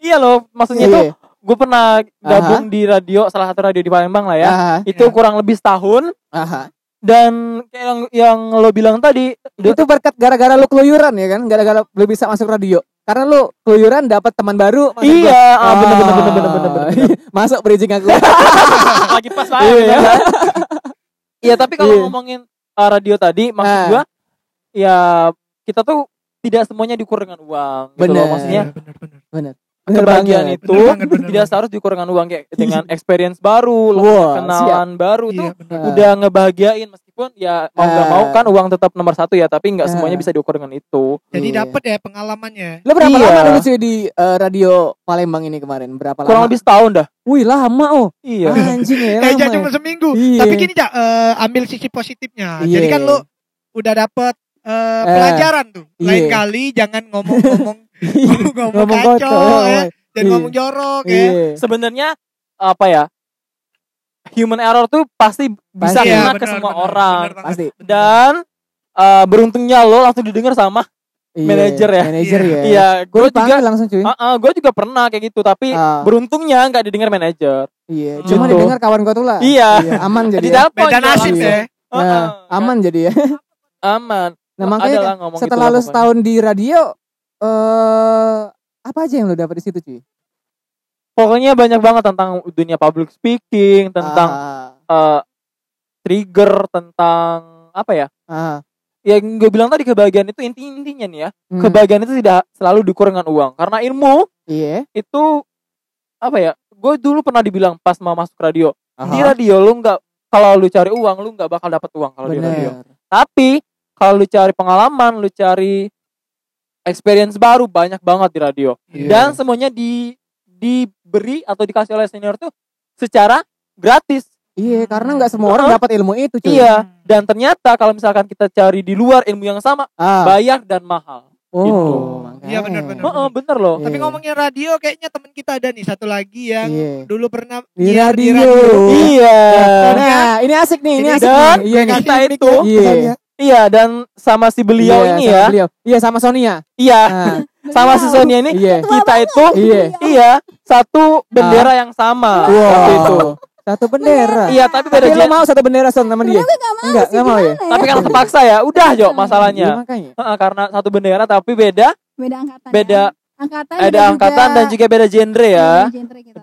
Iya loh, maksudnya tuh
Iya.
gue pernah gabung di radio salah satu radio di Palembang lah ya.
Aha,
itu
Iya.
kurang lebih setahun
aha.
dan kayak yang yang lo bilang tadi Duh.
Itu berkat gara-gara lu keluyuran ya kan, gara-gara lu bisa masuk radio. Karena lu keluyuran dapat teman baru. maksud gua.
iya ah,
Ah,
bener bener bener bener bener, bener, bener.
Masuk bridging aku.
Ah. lagi pas lah
Iya.
ya. Iya, tapi kalau
Iya.
ngomongin uh, radio tadi maksud
Ah.
gua ya kita tuh tidak semuanya diukur dengan uang gitu loh
Bener.
Iya.
maksudnya
benar benar.
Bener
kebahagiaan
banget. Iya.
itu
Bener banget, bener
tidak
banget.
seharus diukur dengan uang kayak dengan experience baru lo
Wah, siap.
kenalan baru tuh
Iya benar.
Ah.
udah ngebahagiain meskipun ya mau nggak
Ah.
mau kan uang tetap nomor satu ya tapi nggak
Ah.
semuanya bisa diukur dengan itu
Jadi
Iya.
dapat ya pengalamannya.
Lu berapa
Iya.
lama dulu cuy di eh, radio Palembang ini kemarin? Berapa
kurang
lama?
lebih setahun dah
Wih, lama oh.
iya
Anjing
Eh
ya. lama
jadi
ya.
cuma seminggu.
Iya.
Tapi gini Cak, eh, ambil sisi positifnya. Jadi
Iya.
kan lo udah dapet eh, pelajaran tuh. Lain
iya.
kali jangan ngomong-ngomong ngomong
Ngomong
kacau
kotor,
ya. Jangan
Iya.
ngomong jorok ya.
Iya.
sebenarnya apa ya human error tuh pasti bisa
Pasti.
Iya,
kena ke
benar,
semua
benar,
orang
benar banget.
Pasti.
dan eh, beruntungnya lo langsung didengar sama
Iya,
Manager ya?
Manager ya.
iya
Gue
gue juga Oh,
dipanggil langsung cuy.
gue juga pernah kayak gitu tapi
Iya. Ah,
beruntungnya nggak didengar manajer
iya, cuma
gitu.
didengar kawan gue tuh lah.
iya
aman jadi.
di
ya.
telepon
Beda
juga
nasib
langsung.
ya.
Heeh.
Nah, aman jadi ya.
aman
Nah, makanya
Adalah ngomong
setelah
gitu
lu
lah pokoknya.
setahun di radio eh apa aja yang lu dapat di situ cuy?
Pokoknya banyak banget tentang dunia public speaking, tentang
Ah,
eh, trigger, tentang apa ya?
ah, ah.
Yang gue bilang tadi kebahagiaan itu inti-intinya nih ya.
Hmm,
Kebahagiaan itu tidak selalu diukur dengan uang. Karena ilmu
iya.
itu apa ya? Gue dulu pernah dibilang pas mau masuk radio,
Aha,
di radio lu nggak kalau lu cari uang lu nggak bakal dapat uang kalau di
bener.
radio. Tapi kalau lu cari pengalaman, lu cari experience baru banyak banget di radio.
Iya.
Dan semuanya di diberi atau dikasih oleh senior tuh secara gratis.
Iya, karena nggak semua orang
Uh-uh.
dapat ilmu itu, cuy.
Iya, dan ternyata kalau misalkan kita cari di luar ilmu yang sama,
Ah,
bayar dan mahal.
oh,
gitu.
makanya.
Iya, benar-benar.
Heeh, bener loh.
Iya.
Tapi ngomongin radio kayaknya temen kita ada nih satu lagi yang
Iya.
dulu pernah
Di
nyiar
radio.
Iya.
Nah, ini asik nih, ini
Ini
asik.
dan
nih. Iya, nih.
kita itu,
Iya.
Misalnya,
iya dan sama si gitu, beliau
Iya,
ini
sama
ya.
Beliau. Iya, sama Sonia.
Iya,
Ah,
sama si Sonia ini
iya.
kita itu
Iya.
iya satu bendera yang sama waktu itu.
Wow. Satu bendera.
Iya, tapi beda
Tapi lo
jen-
mau satu bendera Son sama dia?
Kenapa gak mau
Enggak,
sih?
nggak mau ya?
Gimana
Tapi kan terpaksa ya. Udah, Jo,
Iya,
masalahnya.
makanya.
Heeh, karena satu bendera tapi beda,
Beda angkatan.
beda
ya. Angkatan.
ada angkatan dan juga beda genre ya.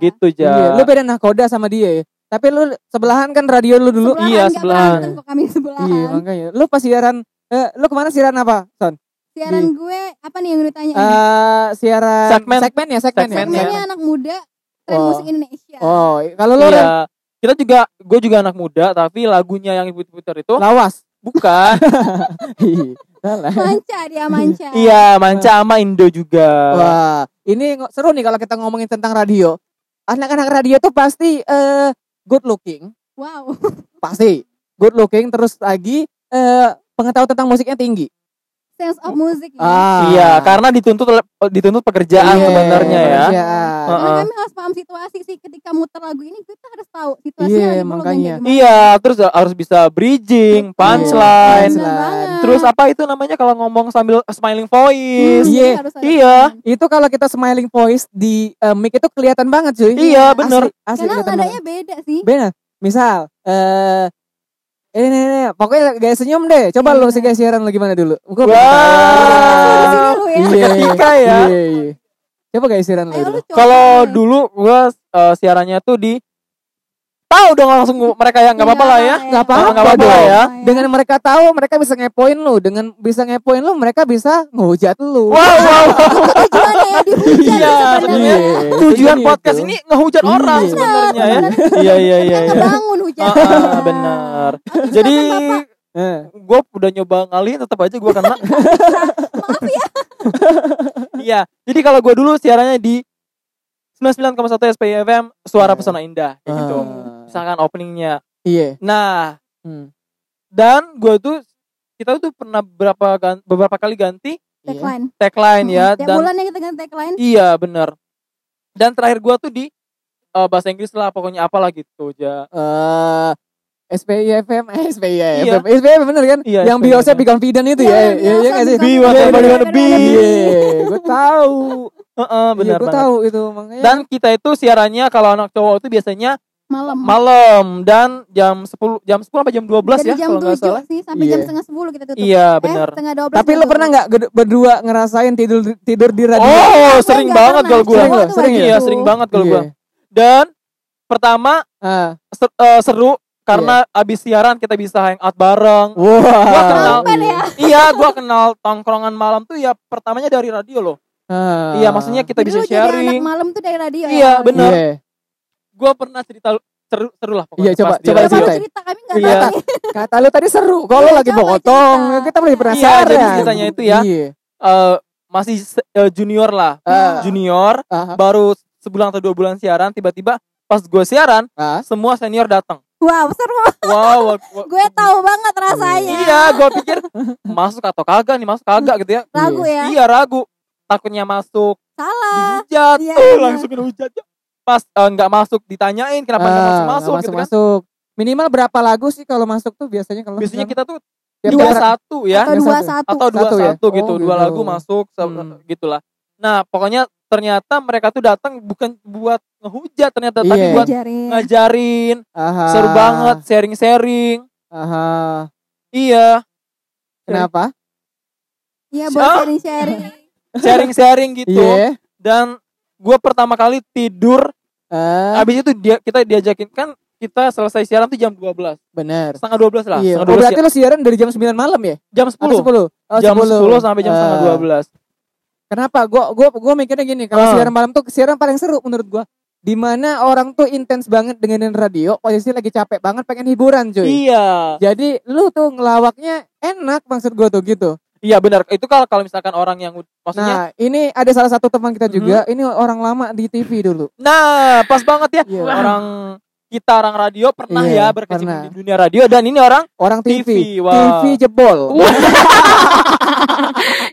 Gitu,
Iya,
Ja.
lu beda nakoda sama dia ya. Tapi lu sebelahan kan radio lu dulu.
Iya, sebelahan.
Kami sebelahan.
Iya, makanya. Lu pas siaran eh, lu kemana siaran apa, Son?
Siaran gue apa nih yang lu tanya?
Eh, siaran
Segmen.
segmen ya, segmen,
Segmen,
ya.
Segmennya anak muda tren
Oh.
musik Indonesia.
Oh, kalau lu Ren,
Iya. Kita juga gue juga anak muda, tapi lagunya yang ibu putar itu
lawas.
bukan.
Ih, salah.
Manca dia manca.
iya, Manca sama Indo juga.
Wah, ini ngo- seru nih kalau kita ngomongin tentang radio. Anak-anak radio tuh pasti eh good looking,
Wow.
pasti good looking terus lagi eh pengetahuan tentang musiknya tinggi.
Sense of music ya.
Ah.
Iya, karena dituntut oleh- dituntut pekerjaan
Iya,
sebenarnya ya.
pekerjaan.
Karena
Heeh.
kami harus paham situasi sih ketika muter lagu ini kita harus tahu situasinya
Iya,
lagi mau
makanya.
kayak gimana.
Iya, terus harus bisa bridging,
Iya, Punchline.
punchline,
Bener banget.
terus apa itu namanya kalau ngomong sambil smiling voice.
Iya.
Hmm, harus ada
Iya.
punchline.
Itu kalau kita smiling voice di eh, mic itu kelihatan banget cuy.
Iya, bener.
Asli, asli
Karena
kelihatan
nadanya
banget.
beda sih.
Bener. Misal eh ini, ini, ini, pokoknya gaya senyum deh. Coba
Iya.
lu sih gaya siaran lu gimana dulu? Gua
Wah.
pengen tahu.
Sini dulu ya.
Iya.
Seketika ya.
Iya, iya. Coba gaya siaran lu
Ayo
dulu.
lu coba
Kalau
deh.
dulu gua eh, siarannya tuh di tahu dong langsung gua- mereka ya nggak apa-apa lah
Iya,
ya.
Nggak apa-apa
Nggak apa-apa lah ya.
Dengan mereka tahu, mereka bisa ngepoin lu. Dengan bisa ngepoin lu, mereka bisa ngehujat lu.
Wow, wow, wow.
tujuannya ya dihujat
Iya, sebenarnya.
sebenarnya.
kan?
Tujuan podcast ini ngehujat
Iya.
orang
Benar,
sebenarnya ya.
benar.
Iya, iya, iya,
Kan
iya.
kebangun hujan.
Ah, ah, benar. Jadi
Eh,
gua udah nyoba ngalihin tetap aja gua kena.
Maaf ya.
Iya. Jadi kalau gua dulu siarannya di 99,1 SPFM Suara
Iya.
Pesona Indah kayak gitu.
eh,
Misalkan openingnya.
Iya.
Nah,
Hmm,
dan gue tuh kita tuh pernah berapa gan- beberapa kali ganti
iya.
Tagline.
tagline ya
Tiap
dan
bulan Hmm, yang kita ganti tagline.
iya bener dan terakhir gue tuh di eh, bahasa Inggris lah pokoknya apalah gitu ja
Eh, SPIFM, eh,
Iya.
SPIFM, SPIFM bener kan?
Iya,
Yang biosnya
SPIFM.
be confident itu
Iya,
ya, iya
Beyonce
iya nggak sih?
be Be
what confident. everybody wanna be.
Iya, gue tahu,
Heeh,
Iya,
bener
gue
banget
tahu itu makanya.
dan kita itu siarannya kalau anak cowok itu biasanya
Malam.
malam dan jam 10 jam 10 apa jam 12
Dari
ya
jam
kalau nggak
7
salah
sih sampai jam
Iya.
setengah 10 kita tutup.
iya
Eh,
bener
setengah 12.
Tapi lo pernah
Iya,
nggak ged- berdua ngerasain tidur tidur di radio?
oh
Gue
sering
nggak
banget
pernah.
kalau gue
Sering loh, sering
iya
ya?
sering banget kalau
Iya.
gue dan pertama
Ah,
ser- eh, seru karena
Iya.
abis siaran kita bisa hangout bareng
Wow.
Gua kenal.
Sampai ya.
iya, gua kenal tongkrongan malam tuh ya pertamanya dari radio loh.
Ah.
Iya, maksudnya kita
Jadi
bisa
lu jadi anak
sharing.
malam tuh dari radio. ya?
Iya, bener.
Iya.
Gua pernah cerita lu- seru seru lah
Iya,
pokoknya.
coba,
pas dia
coba
Coba
radio.
lu
ceritain.
cerita kami enggak
Iya.
tahu. nih.
Kata lu tadi seru. Kalau lu
Iya,
lagi
coba
potong,
cerita.
kita mulai
Iya,
Iya,
penasaran.
jadi ceritanya itu ya
Iya.
eh, masih se- eh, junior lah.
Ah,
Junior
ah,
baru sebulan atau dua bulan siaran tiba-tiba pas gue siaran
ah.
semua senior datang.
Wow, seru.
Wow, wa- wa-
Gue tahu banget rasanya.
Iya, gua pikir masuk atau kagak nih, masuk kagak gitu ya.
Lagu ya.
Iya, ragu. Takutnya masuk
Salah.
dihujat
Iya,
tuh,
benar.
langsung dihujat ya. pas eh, nggak masuk ditanyain kenapa
Ah,
nggak masuk
nggak
masuk gitu kan
masuk-masuk. Minimal berapa lagu sih kalau masuk tuh biasanya kalau
biasanya
misalnya
kita tuh
tiap
dua
daerah-
satu ya
Atau
Yang
dua
satu.
satu.
atau dua
Satu
satu,
ya? Oh,
gitu dua
gitu.
lagu masuk se-
Hmm.
gitulah nah pokoknya ternyata mereka tuh datang bukan buat ngehujat ternyata tapi
Iya. Ah.
buat
Ajarin.
ngajarin
Aha.
seru banget sharing sharing
Aha.
iya
Kenapa?
Iya,
Ah.
buat sharing-sharing.
sharing sharing gitu
Iya.
dan gue pertama kali tidur
Eh,
Habis itu dia kita diajakin kan kita selesai siaran tuh jam 12.
benar.
Setengah 12 lah.
Iya.
Setengah
Oh,
12
berarti lo siaran dari jam 9 malam ya?
jam
Atau 10?
10.
Oh,
Jam 10 sampai jam setengah
Eh,
12.
Kenapa? Gue gua, gua mikirnya gini, kalau
Ah.
siaran malam tuh siaran paling seru menurut gue. Dimana orang tuh intens banget dengerin radio, posisi lagi capek banget pengen hiburan cuy.
Iya.
Jadi lu tuh ngelawaknya enak maksud gue tuh gitu.
Iya benar. Itu kalau kalau misalkan orang yang ud- maksudnya Mm-hmm.
Nah, ini ada salah satu teman kita juga, ini orang lama di TV dulu.
nah, pas banget ya
Iya.
orang kita orang radio pernah
Iya,
ya berkecimpung
pernah.
di dunia radio dan ini orang
Orang TV.
TV. Wah.
TV jebol.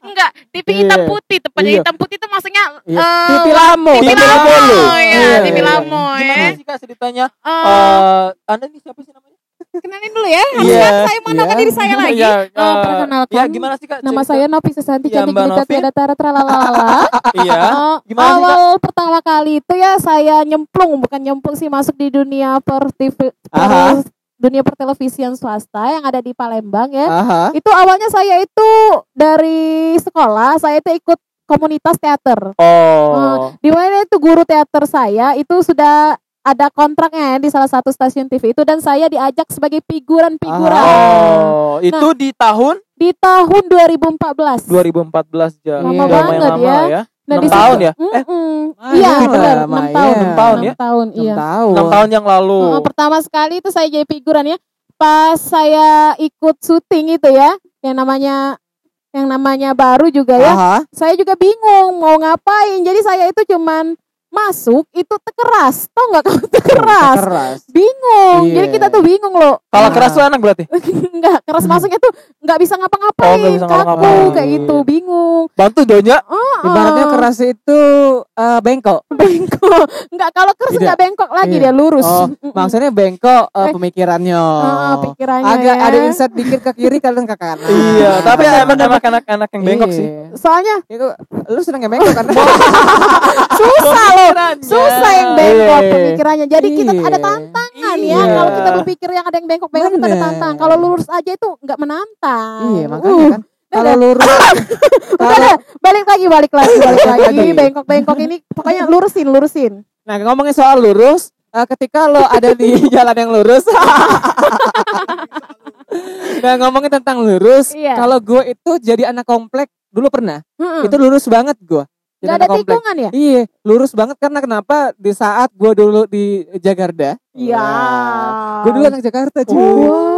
Enggak, TV hitam
Iya.
putih. Tepatnya
Iya.
hitam putih itu maksudnya
Iya.
eh,
TV lamo.
TV
Lamo.
Lamo, ya,
Iya,
TV
iya.
Lamo ya.
Gimana sih Kak ceritanya? Eh,
Eh,
Anda nih siapa sih namanya?
kenalin dulu ya. Harus
Iya.
kan saya mengenalkan
Iya.
diri saya lagi.
Iya,
Eh,
eh,
perkenalkan.
Iya, gimana sih Kak?
Nama
cerita?
saya Novi Susanti
Iya,
cantik
Mbak
jelita
Novi.
tiada tara tralalala.
Iya.
Oh,
Gimana sih, Kak?
awal pertama kali itu ya saya nyemplung bukan nyemplung sih masuk di dunia per TV per-
Aha.
dunia pertelevisian swasta yang ada di Palembang ya.
Aha.
Itu awalnya saya itu dari sekolah saya itu ikut komunitas teater. Nah,
Oh.
di mana itu guru teater saya itu sudah ada kontraknya ya di salah satu stasiun TV itu dan saya diajak sebagai figuran-figuran
Oh,
Nah.
itu di tahun
di tahun 2014.
2014 ja.
Lama
Udah lumayan
banget ya.
lama ya.
Nah, di
enam tahun ya?
Mm-mm.
lumayan
iya,
lah,
benar, 6
lumayan.
tahun.
Enam
tahun ya?
6 tahun, iya.
Tahu.
6 tahun yang lalu.
Oh,
Heeh, pertama sekali itu saya jadi figuran ya. Pas saya ikut syuting itu ya, yang namanya yang namanya baru juga ya.
Aha.
Saya juga bingung mau ngapain. Jadi saya itu cuman masuk itu tekeras. Tau nggak kamu tekeras?
Keras.
bingung. Jadi
Iya.
kita tuh bingung loh.
Kalau
Nah.
keras tuh enak berarti.
Enggak, keras masuknya tuh nggak bisa
Oh,
ngapa-ngapain,
nggak bisa
kaku
ngapa-ngapain.
kayak gitu, bingung.
Bantu donya.
Heeh.
Ibaratnya keras itu eh, bengkok.
bengkok. Enggak, kalau keras
Tidak.
enggak bengkok lagi
Iya.
dia lurus.
Oh, maksudnya bengkok eh,
Eh.
pemikirannya.
Heeh, pikirannya
Agak
ya.
ada insight dikit ke kiri kadang ke kanan. Nah,
Iya, tapi emang emang anak-anak yang bengkok sih.
Iya.
Soalnya
Itu lu seneng yang bengkok kan?
susah loh. Susah yang bengkok
Iya.
pemikirannya. Jadi kita
Iya.
ada tantangan ya.
Iya.
Kalau kita berpikir yang ada yang bengkok-bengkok kita ada
Bener.
tantang. Kalau lurus aja itu enggak menantang.
Iya,
Uh,
makanya kan kalau
dadah.
lurus
udah
kalau
deh, balik lagi, balik lagi, balik lagi.
Lagi.
Bengkok-bengkok ini pokoknya lurusin, lurusin.
Nah ngomongin soal lurus, eh, ketika lo ada di jalan yang lurus, nah ngomongin tentang lurus,
Iya.
kalau gue itu jadi anak komplek dulu pernah,
Heeh.
itu lurus banget gue. Jadi
Gak
anak
Hmm. ada tikungan ya?
Iya, lurus banget karena kenapa di saat gue dulu di Jakarta,
Iya.
gue dulu anak Jakarta cuy,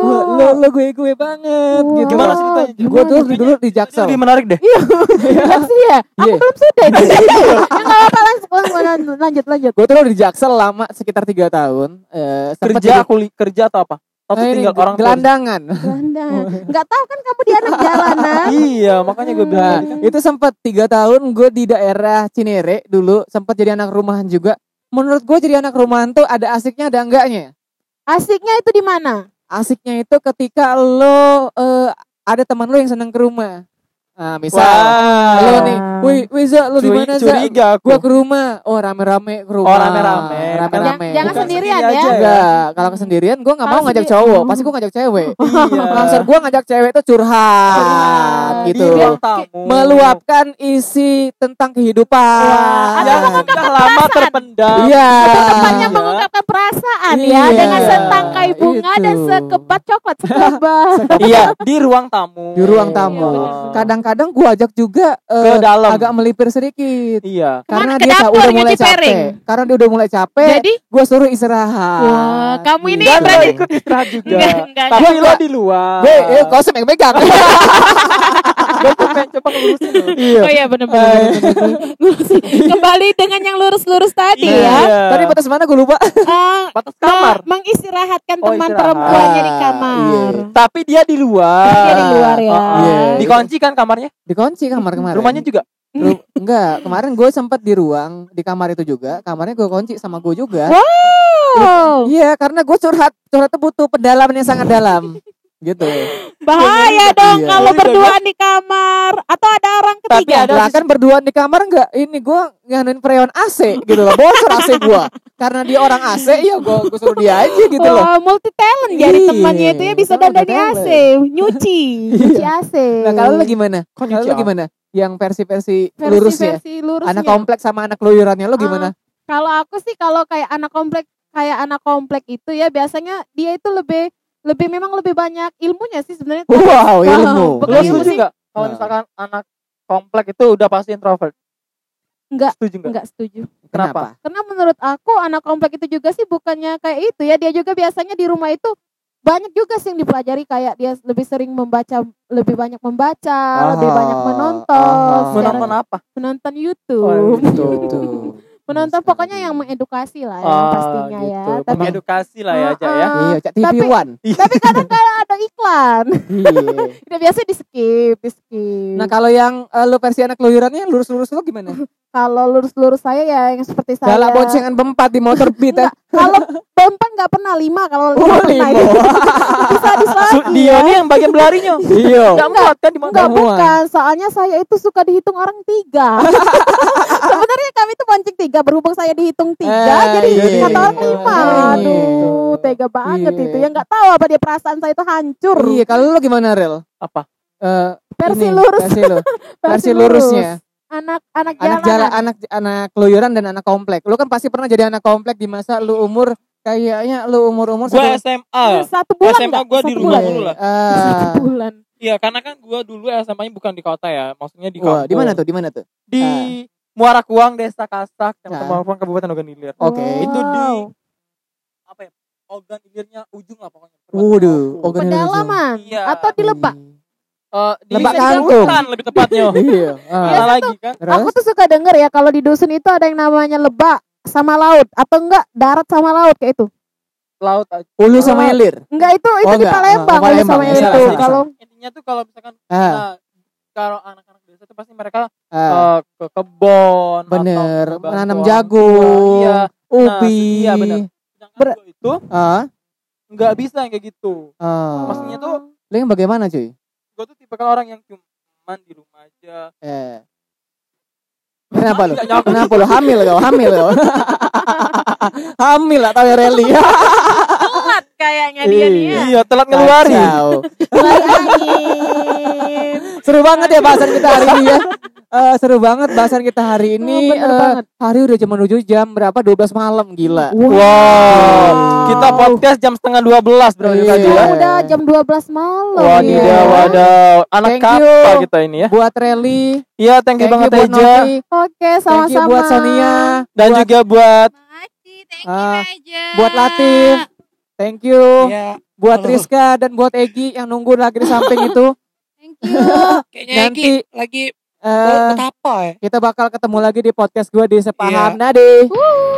Gua- lo lo gue gue banget
Wow.
gitu.
Gimana ceritanya?
Gue dulu dulu di
Ini
Jaksel.
lebih menarik deh.
Iya sih ya. Aku
Iya.
belum sudah. Ya nggak apa-apa langsung langsung, langsung, lanjut lanjut.
Gue tuh di Jaksel lama sekitar tiga tahun. Eh, sempet
Kerja
jadi-
aku kerja atau apa? Atau
Nah, ini
tinggal orang tua?
gelandangan.
Belanda. Nggak tahu kan kamu di anak jalanan.
Iya, makanya gue bilang.
Nah,
tadi kan.
itu sempat tiga tahun gue di daerah Cinere dulu sempat jadi anak rumahan juga. Menurut gue jadi anak rumahan tuh ada asiknya ada enggaknya.
Asiknya itu di mana?
Asiknya itu ketika lo eh, ada teman lo yang seneng ke rumah. Nah, misal
Wah.
lo nih, wih, wih Za, lo di
Curi-
mana Za?
curiga aku.
Gue ke rumah. Oh, rame-rame ke rumah.
Oh, rame-rame.
Rame-rame.
Jangan- jangan
Bukan-
sendiri
sendirian ya.
aja.
Enggak, kalau kesendirian gue nggak
Kalau
mau ngajak
sendiri-
cowok, pasti gue ngajak cewek.
Iya.
Konser gue ngajak cewek tuh curhat,
Di
gitu.
ruang tamu.
meluapkan isi tentang kehidupan.
Yang sudah lama terpendam.
Iya.
Tempatnya
Iya.
mengungkapkan perasaan
Iya,
ya dengan setangkai bunga
itu.
dan sekebat coklat sekebab.
Iya, di ruang tamu.
Di ruang tamu.
Iya, benar.
Kadang-kadang gua ajak juga
ke
eh,
dalam.
agak melipir sedikit.
Iya.
Karena
ke
dia tak-
dapur
udah mulai
nyuci piring.
capek. Karena dia udah mulai capek,
Jadi
gua suruh istirahat.
Wah, kamu ini
Gitu.
berarti-
ikut istirahat juga.
enggak enggak.
Tapi
Gua
lo
enggak-
di luar.
Gue, eh, gak usah megang-megang.
Gua tuh pengen coba ngelurusin lo.
Oh iya benar-benar.
Kembali dengan yang lurus-lurus tadi
Iya.
ya.
Tadi batas mana gue lupa.
Eh,
batas
ke-
kamar.
mengistirahatkan
Oh,
teman
istirahat. iya.
perempuannya di
Ah,
kamar.
Tapi dia di luar.
Dia di luar ya.
Oh,
Iya.
Dikunci kan kamarnya?
Dikunci kamar kemarin.
Rumahnya juga.
Ru- enggak, kemarin gue sempat di ruang di kamar itu juga. Kamarnya gue kunci sama gue juga.
Wow.
Iya, karena gue curhat, curhat tuh butuh pendalaman yang sangat dalam. gitu.
Bahaya dong
Iya.
kalau berduaan di kamar atau ada orang
Tapi
ketiga.
ada
Lah kan berduaan di kamar enggak ini gue nganuin freon AC gitu loh. Bocor AC gue. Karena dia orang AC ya gue gue suruh dia aja gitu loh.
Wah, multi talent jadi
Iya.
temannya itu ya bisa
Sama
dandani
multi
AC, nyuci, nyuci AC.
Nah, kalau lu gimana?
Kok
Kalau lu
nyuci
gimana? Yang versi-versi
Versi- ya? Ah.
lurusnya.
versi lurusnya.
Anak kompleks sama anak keluyurannya ya? lu gimana?
Kalau aku sih kalau kayak anak komplek kayak anak komplek itu ya biasanya dia itu lebih lebih memang lebih banyak ilmunya sih sebenarnya.
Wow, ilmu.
Bukan
Lo
ilmu
setuju
sih.
nggak kalau
Nah.
misalkan anak komplek itu udah pasti introvert?
Enggak.
Setuju nggak?
Enggak setuju.
Kenapa?
Karena menurut aku anak komplek itu juga sih bukannya kayak itu ya. Dia juga biasanya di rumah itu banyak juga sih yang dipelajari kayak dia lebih sering membaca, lebih banyak membaca,
Aha,
lebih banyak
ah.
menonton,
aha.
secara-
Menonton apa?
menonton
Oh,
YouTube.
gitu.
Gitu.
menonton
Sekali.
pokoknya yang mengedukasi lah ya,
Ah,
pastinya ya.
gitu.
Tapi,
Mengedukasi lah ya, Cak ya.
Ah,
Iya, Cak, TV
Tapi-
One.
tapi kadang kayak ada iklan.
Iya.
Udah biasa di skip, di skip.
Nah, kalau yang eh, lu versi anak keluyurannya lurus-lurus lu gimana?
kalau lurus-lurus saya ya yang seperti saya.
Galak boncengan berempat di motor beat. eh.
Enggak, kalau bempan nggak pernah lima kalau
Oh,
lima pernah
lima.
itu. bisa diselain.
Su- Dia nih ah. yang bagian belarinya.
Iya.
Gak muat kan di mana?
Enggak
Kamuan.
bukan, soalnya saya itu suka dihitung orang tiga. Sebenarnya kami itu bonceng tiga, berhubung saya dihitung tiga,
Eh,
jadi
iya.
kata orang lima.
Iya.
Aduh, tega banget
Iya.
itu. Ya nggak tahu apa dia perasaan saya itu hancur.
Iya, kalau lu gimana, Rel?
Apa?
Eh,
Versi
ini,
lurus,
Versi, lu. versi lurusnya.
Anak Iya, anak
Anak
jalanan.
jalan, anak anak keluyuran dan anak komplek. Lu kan pasti pernah jadi anak komplek di masa lu umur kayaknya lu umur-umur
Gue
satu-
SMA.
Satu bulan
SMA
nggak?
gua di
Satu
rumah
bulan.
mulu lah.
Eh,
Satu bulan.
Iya, karena kan gue dulu SMA-nya bukan di kota ya. Maksudnya di kampung.
wah, di mana tuh? Di mana tuh?
Di
Ah.
Muara Kuang, Desa Kasak, Kecamatan
Ah.
Muara Kuang, Kabupaten Ogan Ilir.
Oke.
Itu di
Wow.
Apa ya? Ogan Ilirnya ujung lah pokoknya.
Waduh, Ogan Ilir.
Pedalaman
Iya.
atau di
Hmm,
lebak.
Eh, di
Lebak
bisa dibilang
kangkung.
hutan lebih tepatnya.
Iya.
Mana
ah.
lagi kan?
Terus?
Aku tuh suka denger ya kalau di dusun itu ada yang namanya lebak sama laut atau enggak darat sama laut kayak itu.
Laut aja.
Ulu sama Ilir.
Enggak itu itu
Oh,
di
enggak.
Palembang,
Oh, Palembang.
sama
Iya,
itu.
iya, iya.
Kalau
Intinya tuh kalau misalkan
Ah,
nah, kalau anak-anak desa tuh pasti mereka
ah.
eh, ke kebon. atau
bener,
ke
menanam
bangkuan.
jagung,
Iya.
ubi.
iya, bener. Sedangkan
Ber-
gua itu
Ah,
nggak bisa yang kayak gitu.
ah.
Maksudnya tuh
Lu yang bagaimana, cuy?
gue tuh tipe kalau orang yang cuman di rumah aja.
Eh. Kenapa lu?
Nggak nyambung.
Kenapa lu hamil kau? Hamil kau. hamil atau rally?
Telat kayaknya dia nih ya.
Iya, telat ngeluarin.
Kacau.
keluar angin.
Seru banget ya bahasan kita hari ini ya. Eh, seru banget bahasan kita hari ini.
bener
Eh,
banget.
hari udah jam menuju jam berapa? 12 malam gila.
Wow. Kita podcast jam setengah 12 bro
Iya.
tadi
Ya
ya.
udah jam 12
Iya.
ya.
malam.
Wadidaw, wadaw. Anak
Thank
kapal
you.
kita ini ya.
Buat rally,
Iya, thank you banget
buat
Teja.
Noti,
Oke,
thank you
sama-sama.
buat Sonia,
Dan
buat,
juga buat
Makasih, thank
Ah,
you aja.
buat Latif, thank you,
Iya.
buat
Halo.
Rizka dan buat Egi yang nunggu lagi di samping itu.
Thank you.
Kayaknya
Nanti-
Egi lagi
Eh,
betapa ya.
kita bakal ketemu lagi di podcast gue di
Iya.
Sepaham Nadi.
Wuh.